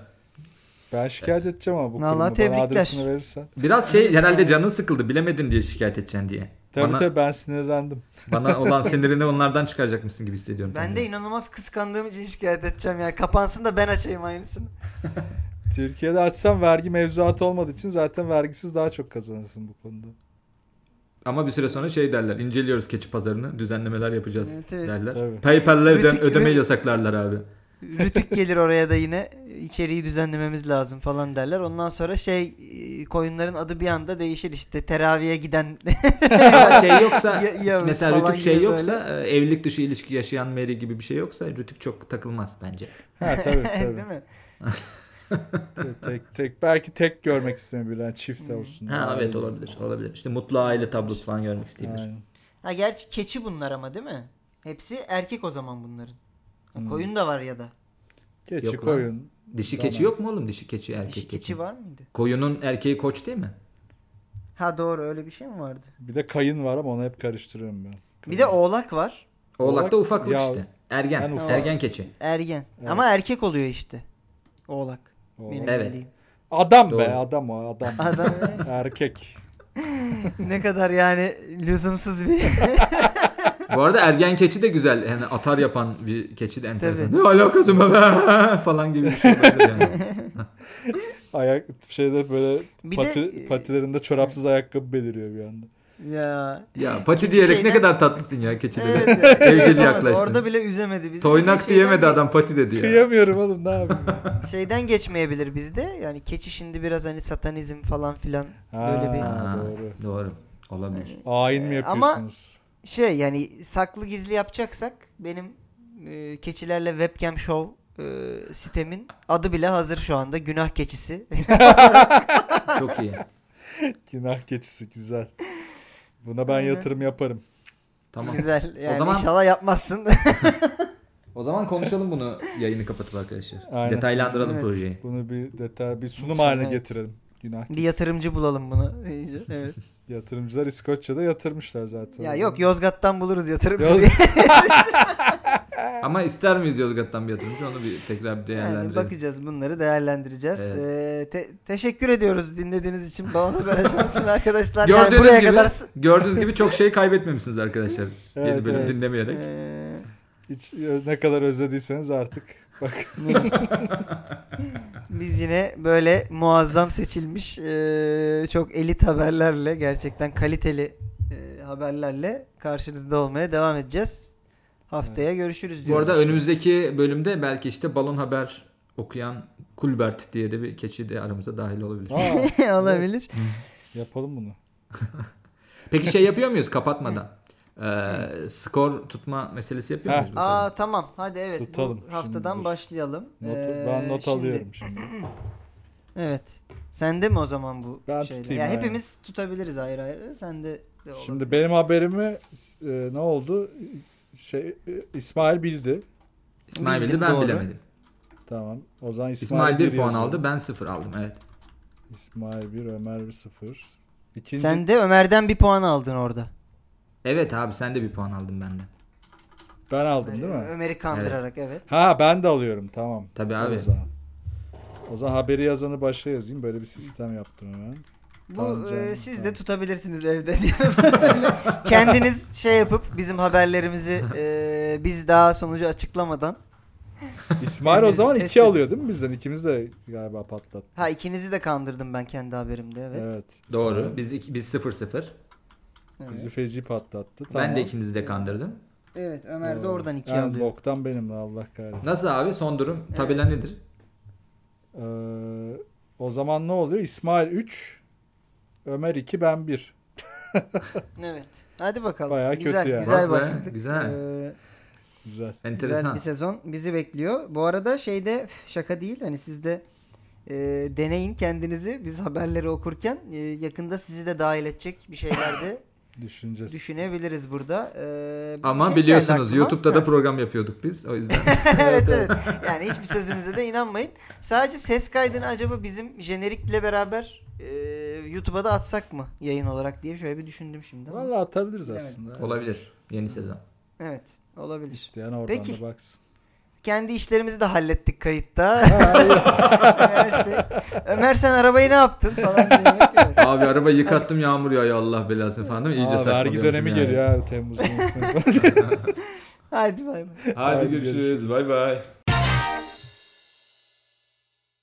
[SPEAKER 2] Ben şikayet edeceğim ama bu
[SPEAKER 1] Vallahi
[SPEAKER 2] kurumu. Bana
[SPEAKER 1] tebrikler.
[SPEAKER 2] adresini verirsen.
[SPEAKER 3] Biraz şey herhalde canın sıkıldı bilemedin diye şikayet edeceksin diye.
[SPEAKER 2] Tabii
[SPEAKER 3] bana,
[SPEAKER 2] tabii ben sinirlendim. *laughs*
[SPEAKER 3] bana olan sinirini onlardan çıkaracakmışsın gibi hissediyorum.
[SPEAKER 1] Ben de
[SPEAKER 3] kendimi.
[SPEAKER 1] inanılmaz kıskandığım için şikayet edeceğim ya. Kapansın da ben açayım aynısını.
[SPEAKER 2] Türkiye'de açsam vergi mevzuatı olmadığı için zaten vergisiz daha çok kazanırsın bu konuda.
[SPEAKER 3] Ama bir süre sonra şey derler inceliyoruz keçi pazarını düzenlemeler yapacağız
[SPEAKER 1] Evet, evet.
[SPEAKER 3] derler.
[SPEAKER 2] Tabii.
[SPEAKER 3] Paypal'le ödem-
[SPEAKER 1] Rütük-
[SPEAKER 3] ödemeyi
[SPEAKER 1] Rütük-
[SPEAKER 3] yasaklarlar
[SPEAKER 1] *laughs*
[SPEAKER 3] abi.
[SPEAKER 1] Rütük gelir oraya da yine içeriği düzenlememiz lazım falan derler. Ondan sonra şey e, koyunların adı bir anda değişir işte teraviye giden. *laughs*
[SPEAKER 3] Ama şey yoksa
[SPEAKER 1] Ya- Yavuz
[SPEAKER 3] mesela
[SPEAKER 1] falan
[SPEAKER 3] Rütük şey
[SPEAKER 1] gibi
[SPEAKER 3] yoksa e, evlilik dışı ilişki yaşayan Mary gibi bir şey yoksa Rütük çok takılmaz bence. *laughs*
[SPEAKER 2] Ha tabii tabii.
[SPEAKER 1] Değil mi?
[SPEAKER 2] Te- tek tek belki tek görmek istemiyor birileri. çift olsun.
[SPEAKER 3] Ha
[SPEAKER 2] Aile.
[SPEAKER 3] evet olabilir olabilir. İşte mutlu aile tablosu falan görmek isteyebilir.
[SPEAKER 2] Aynen.
[SPEAKER 1] Ha gerçi keçi bunlar ama değil mi? Hepsi erkek o zaman bunların. Ha,
[SPEAKER 3] Hmm.
[SPEAKER 1] Koyun da var ya da.
[SPEAKER 2] Keçi
[SPEAKER 3] Yok lan.
[SPEAKER 2] koyun.
[SPEAKER 3] Dişi
[SPEAKER 2] Tamam.
[SPEAKER 3] keçi yok mu oğlum? Dişi keçi erkek
[SPEAKER 1] Dişi
[SPEAKER 3] keçi.
[SPEAKER 1] keçi var mıydı?
[SPEAKER 3] Koyunun erkeği koç değil mi?
[SPEAKER 1] Ha doğru öyle bir şey mi vardı?
[SPEAKER 2] Bir de kayın var ama onu hep karıştırıyorum ben.
[SPEAKER 1] Bir de oğlak var.
[SPEAKER 3] Oğlak da
[SPEAKER 2] Oğlak-
[SPEAKER 3] ufaklık
[SPEAKER 2] Ya-
[SPEAKER 3] işte. Ergen.
[SPEAKER 2] Ben ufak.
[SPEAKER 3] Ergen keçi.
[SPEAKER 1] Ergen. Ama erkek oluyor işte. Oğlak.
[SPEAKER 2] Oğlak.
[SPEAKER 1] Benim
[SPEAKER 3] Evet.
[SPEAKER 1] bildiğim.
[SPEAKER 2] Adam
[SPEAKER 3] Doğru.
[SPEAKER 2] be adam o
[SPEAKER 3] *laughs*
[SPEAKER 2] adam.
[SPEAKER 1] Adam
[SPEAKER 2] Erkek.
[SPEAKER 1] ne kadar yani lüzumsuz bir.
[SPEAKER 3] *laughs* Bu arada ergen keçi de güzel. Yani atar yapan bir keçi de enteresan.
[SPEAKER 1] Tabii.
[SPEAKER 3] *laughs* Ne alakası be falan gibi bir şey olabilir yani.
[SPEAKER 2] Ayak şeyde böyle
[SPEAKER 1] Bir de- e,
[SPEAKER 2] pati, patilerinde çorapsız ayakkabı beliriyor bir anda.
[SPEAKER 1] Ya.
[SPEAKER 3] Ya pati
[SPEAKER 1] Keçi
[SPEAKER 3] diyerek ne
[SPEAKER 1] şeyden-
[SPEAKER 3] kadar tatlısın ya keçileri.
[SPEAKER 1] Evet, ya.
[SPEAKER 3] *laughs* Sevgili
[SPEAKER 1] Yapamadı.
[SPEAKER 3] yaklaştın.
[SPEAKER 1] Orada bile üzemedi bizi.
[SPEAKER 3] Toynak
[SPEAKER 1] Şeyden
[SPEAKER 3] diyemedi
[SPEAKER 1] ge-
[SPEAKER 3] adam pati dedi ya.
[SPEAKER 2] Kıyamıyorum oğlum ne yapayım.
[SPEAKER 1] Şeyden geçmeyebilir bizde. Yani keçi şimdi biraz hani satanizm falan filan böyle
[SPEAKER 2] Ha,
[SPEAKER 1] bir
[SPEAKER 2] doğru.
[SPEAKER 3] Doğru. Olabilir.
[SPEAKER 2] Ayin mi
[SPEAKER 1] Ee, ama-
[SPEAKER 2] yapıyorsunuz?
[SPEAKER 1] şey yani saklı gizli yapacaksak benim e, keçilerle webcam show e, sitemin adı bile hazır şu anda günah keçisi.
[SPEAKER 3] Çok iyi.
[SPEAKER 2] Günah keçisi güzel. Buna ben
[SPEAKER 1] Aynen.
[SPEAKER 2] yatırım yaparım.
[SPEAKER 3] Tamam.
[SPEAKER 1] Güzel. Yani
[SPEAKER 3] zaman-
[SPEAKER 1] inşallah
[SPEAKER 3] *laughs*
[SPEAKER 1] yapmazsın.
[SPEAKER 3] O zaman konuşalım bunu yayını kapatıp arkadaşlar.
[SPEAKER 2] Aynen.
[SPEAKER 3] Detaylandıralım
[SPEAKER 1] Evet.
[SPEAKER 3] projeyi.
[SPEAKER 2] Bunu bir detay, bir sunum haline
[SPEAKER 1] Evet.
[SPEAKER 2] getirelim. Günah
[SPEAKER 1] bir
[SPEAKER 2] keçisi.
[SPEAKER 1] yatırımcı bulalım bunu. İyice,
[SPEAKER 3] *laughs*
[SPEAKER 1] Evet.
[SPEAKER 2] Yatırımcılar İskoçya'da yatırmışlar zaten.
[SPEAKER 1] Ya yok Yozgat'tan buluruz yatırımcı. *laughs*
[SPEAKER 2] Yoz-
[SPEAKER 3] Ama ister miyiz Yozgat'tan bir yatırımcı? Onu bir tekrar bir
[SPEAKER 1] Yani
[SPEAKER 3] değerlendirelim.
[SPEAKER 1] bakacağız bunları değerlendireceğiz.
[SPEAKER 3] Evet.
[SPEAKER 1] Ee, te- teşekkür ediyoruz dinlediğiniz için. Bana da
[SPEAKER 3] *laughs*
[SPEAKER 1] böyle şansın arkadaşlar. Yani
[SPEAKER 3] gördüğünüz
[SPEAKER 1] buraya
[SPEAKER 3] gibi
[SPEAKER 1] kadar
[SPEAKER 3] gördüğünüz gibi
[SPEAKER 1] *laughs*
[SPEAKER 3] çok şey kaybetmemişsiniz arkadaşlar. Yeni
[SPEAKER 2] Evet,
[SPEAKER 3] bölüm
[SPEAKER 2] evet.
[SPEAKER 3] dinlemeyerek.
[SPEAKER 1] Ee,
[SPEAKER 2] Hiç, ne kadar özlediyseniz artık. Bak
[SPEAKER 1] Biz yine böyle muazzam seçilmiş e, çok elit haberlerle gerçekten kaliteli e, haberlerle karşınızda olmaya devam edeceğiz. Haftaya görüşürüz
[SPEAKER 3] Bu
[SPEAKER 1] diyoruz.
[SPEAKER 3] arada önümüzdeki bölümde belki işte balon haber okuyan Kulbert diye de bir keçi de aramıza dahil olabilir.
[SPEAKER 1] *laughs*
[SPEAKER 2] aa,
[SPEAKER 1] olabilir.
[SPEAKER 2] *laughs* yapalım bunu.
[SPEAKER 3] Peki şey yapıyor muyuz kapatmadan?
[SPEAKER 2] *laughs*
[SPEAKER 3] Ee, skor tutma meselesi yapıyor
[SPEAKER 2] Heh.
[SPEAKER 3] muyuz? mesela?
[SPEAKER 1] Aa tamam hadi evet
[SPEAKER 2] Tutalım.
[SPEAKER 1] bu haftadan
[SPEAKER 2] Şimdi dur.
[SPEAKER 1] başlayalım.
[SPEAKER 2] Not,
[SPEAKER 1] Ee,
[SPEAKER 2] ben not
[SPEAKER 1] şimdi-
[SPEAKER 2] alıyorum şimdi.
[SPEAKER 1] Evet. Sende mi o zaman bu
[SPEAKER 2] Ben
[SPEAKER 1] şeyler?
[SPEAKER 2] tutayım,
[SPEAKER 1] Ya
[SPEAKER 2] aynen.
[SPEAKER 1] hepimiz tutabiliriz ayrı ayrı. Sende de olur.
[SPEAKER 2] Şimdi benim haberimi e, ne oldu? Şey e, İsmail bildi.
[SPEAKER 3] İsmail
[SPEAKER 1] Bildim,
[SPEAKER 3] bildi ben
[SPEAKER 1] doğru.
[SPEAKER 3] bilemedim.
[SPEAKER 2] Tamam. O zaman İsmail,
[SPEAKER 3] İsmail 1 puan
[SPEAKER 2] yazıyor.
[SPEAKER 3] aldı ben 0 aldım evet.
[SPEAKER 2] İsmail 1, Ömer 1 0. İkinci
[SPEAKER 1] Sen de Ömer'den bir puan aldın orada.
[SPEAKER 3] Evet abi sen de bir puan aldın benden.
[SPEAKER 2] ben aldım değil mi?
[SPEAKER 1] Ömer'i kandırarak evet.
[SPEAKER 2] Ha ben de alıyorum tamam.
[SPEAKER 3] Tabii
[SPEAKER 2] Dur
[SPEAKER 3] abi.
[SPEAKER 2] O zaman. O zaman haberi yazanı başa yazayım. Böyle bir sistem yaptım
[SPEAKER 3] *laughs*
[SPEAKER 2] hemen.
[SPEAKER 1] Bu
[SPEAKER 2] Tamam canım,
[SPEAKER 1] e, siz de
[SPEAKER 2] tamam.
[SPEAKER 1] tutabilirsiniz evde diye.
[SPEAKER 2] *laughs*
[SPEAKER 1] Böyle Kendiniz şey yapıp bizim haberlerimizi e, biz daha sonucu açıklamadan.
[SPEAKER 2] İsmail o zaman
[SPEAKER 1] Test
[SPEAKER 2] 2
[SPEAKER 1] edin.
[SPEAKER 2] alıyor değil mi bizden? İkimiz de galiba patlattı.
[SPEAKER 1] Ha ikinizi de kandırdım ben kendi haberimde evet.
[SPEAKER 2] Evet.
[SPEAKER 3] Doğru.
[SPEAKER 2] İsmail
[SPEAKER 3] Biz iki- biz 0 0.
[SPEAKER 1] Evet.
[SPEAKER 2] bizi feci patlattı.
[SPEAKER 3] Ben
[SPEAKER 2] Tamam.
[SPEAKER 3] de ikinizi de kandırdım.
[SPEAKER 1] Evet, Ömer de oradan iki
[SPEAKER 2] Yani
[SPEAKER 1] alıyor.
[SPEAKER 2] boktan benim Allah kahretsin.
[SPEAKER 3] Nasıl abi son durum? Tabela nedir?
[SPEAKER 2] Ee, o zaman ne oluyor? İsmail 3, Ömer 2, ben 1.
[SPEAKER 1] Evet. Hadi bakalım.
[SPEAKER 2] Bayağı kötü
[SPEAKER 1] güzel
[SPEAKER 2] yani.
[SPEAKER 1] güzel
[SPEAKER 3] Bak be,
[SPEAKER 1] başladık.
[SPEAKER 3] güzel.
[SPEAKER 1] Ee,
[SPEAKER 2] Güzel.
[SPEAKER 1] güzel
[SPEAKER 3] Enteresan.
[SPEAKER 1] bir sezon bizi bekliyor. Bu arada şeyde üf, şaka değil hani siz de e, deneyin kendinizi biz haberleri okurken e, yakında sizi de dahil edecek bir şeyler
[SPEAKER 3] *laughs*
[SPEAKER 1] de
[SPEAKER 2] Düşüneceğiz.
[SPEAKER 1] düşünebiliriz burada. Ee,
[SPEAKER 3] Ama
[SPEAKER 1] şey geldi
[SPEAKER 3] biliyorsunuz
[SPEAKER 1] aklıma.
[SPEAKER 3] YouTube'da da
[SPEAKER 1] Ha.
[SPEAKER 3] program yapıyorduk biz. O yüzden
[SPEAKER 1] *laughs*
[SPEAKER 3] *laughs*
[SPEAKER 1] evet evet. Yani hiçbir sözümüze de inanmayın. Sadece ses kaydını acaba bizim jenerikle beraber e, YouTube'a da atsak mı yayın olarak diye şöyle bir düşündüm şimdi. ama.
[SPEAKER 2] Vallahi atabiliriz
[SPEAKER 1] Bilemedim.
[SPEAKER 2] aslında.
[SPEAKER 3] olabilir. Yeni sezon.
[SPEAKER 1] Evet olabilir.
[SPEAKER 2] İsteyen oradan
[SPEAKER 1] Peki.
[SPEAKER 2] da baksın.
[SPEAKER 1] Kendi işlerimizi de hallettik kayıtta. *laughs* Her şey. Ömer sen arabayı ne yaptın falan diye. Evet.
[SPEAKER 3] Abi araba yıkattım yağmur yağıyor Allah belasını falan değil mi? İyice
[SPEAKER 2] Aa, vergi
[SPEAKER 3] saçmalıyormuşum
[SPEAKER 2] dönemi
[SPEAKER 3] yani. *laughs*
[SPEAKER 2] geliyor ha Temmuz'un.
[SPEAKER 1] Hadi bay bay.
[SPEAKER 3] Hadi
[SPEAKER 2] Hadi
[SPEAKER 3] görüşürüz.
[SPEAKER 2] görüşürüz.
[SPEAKER 3] Bay bay.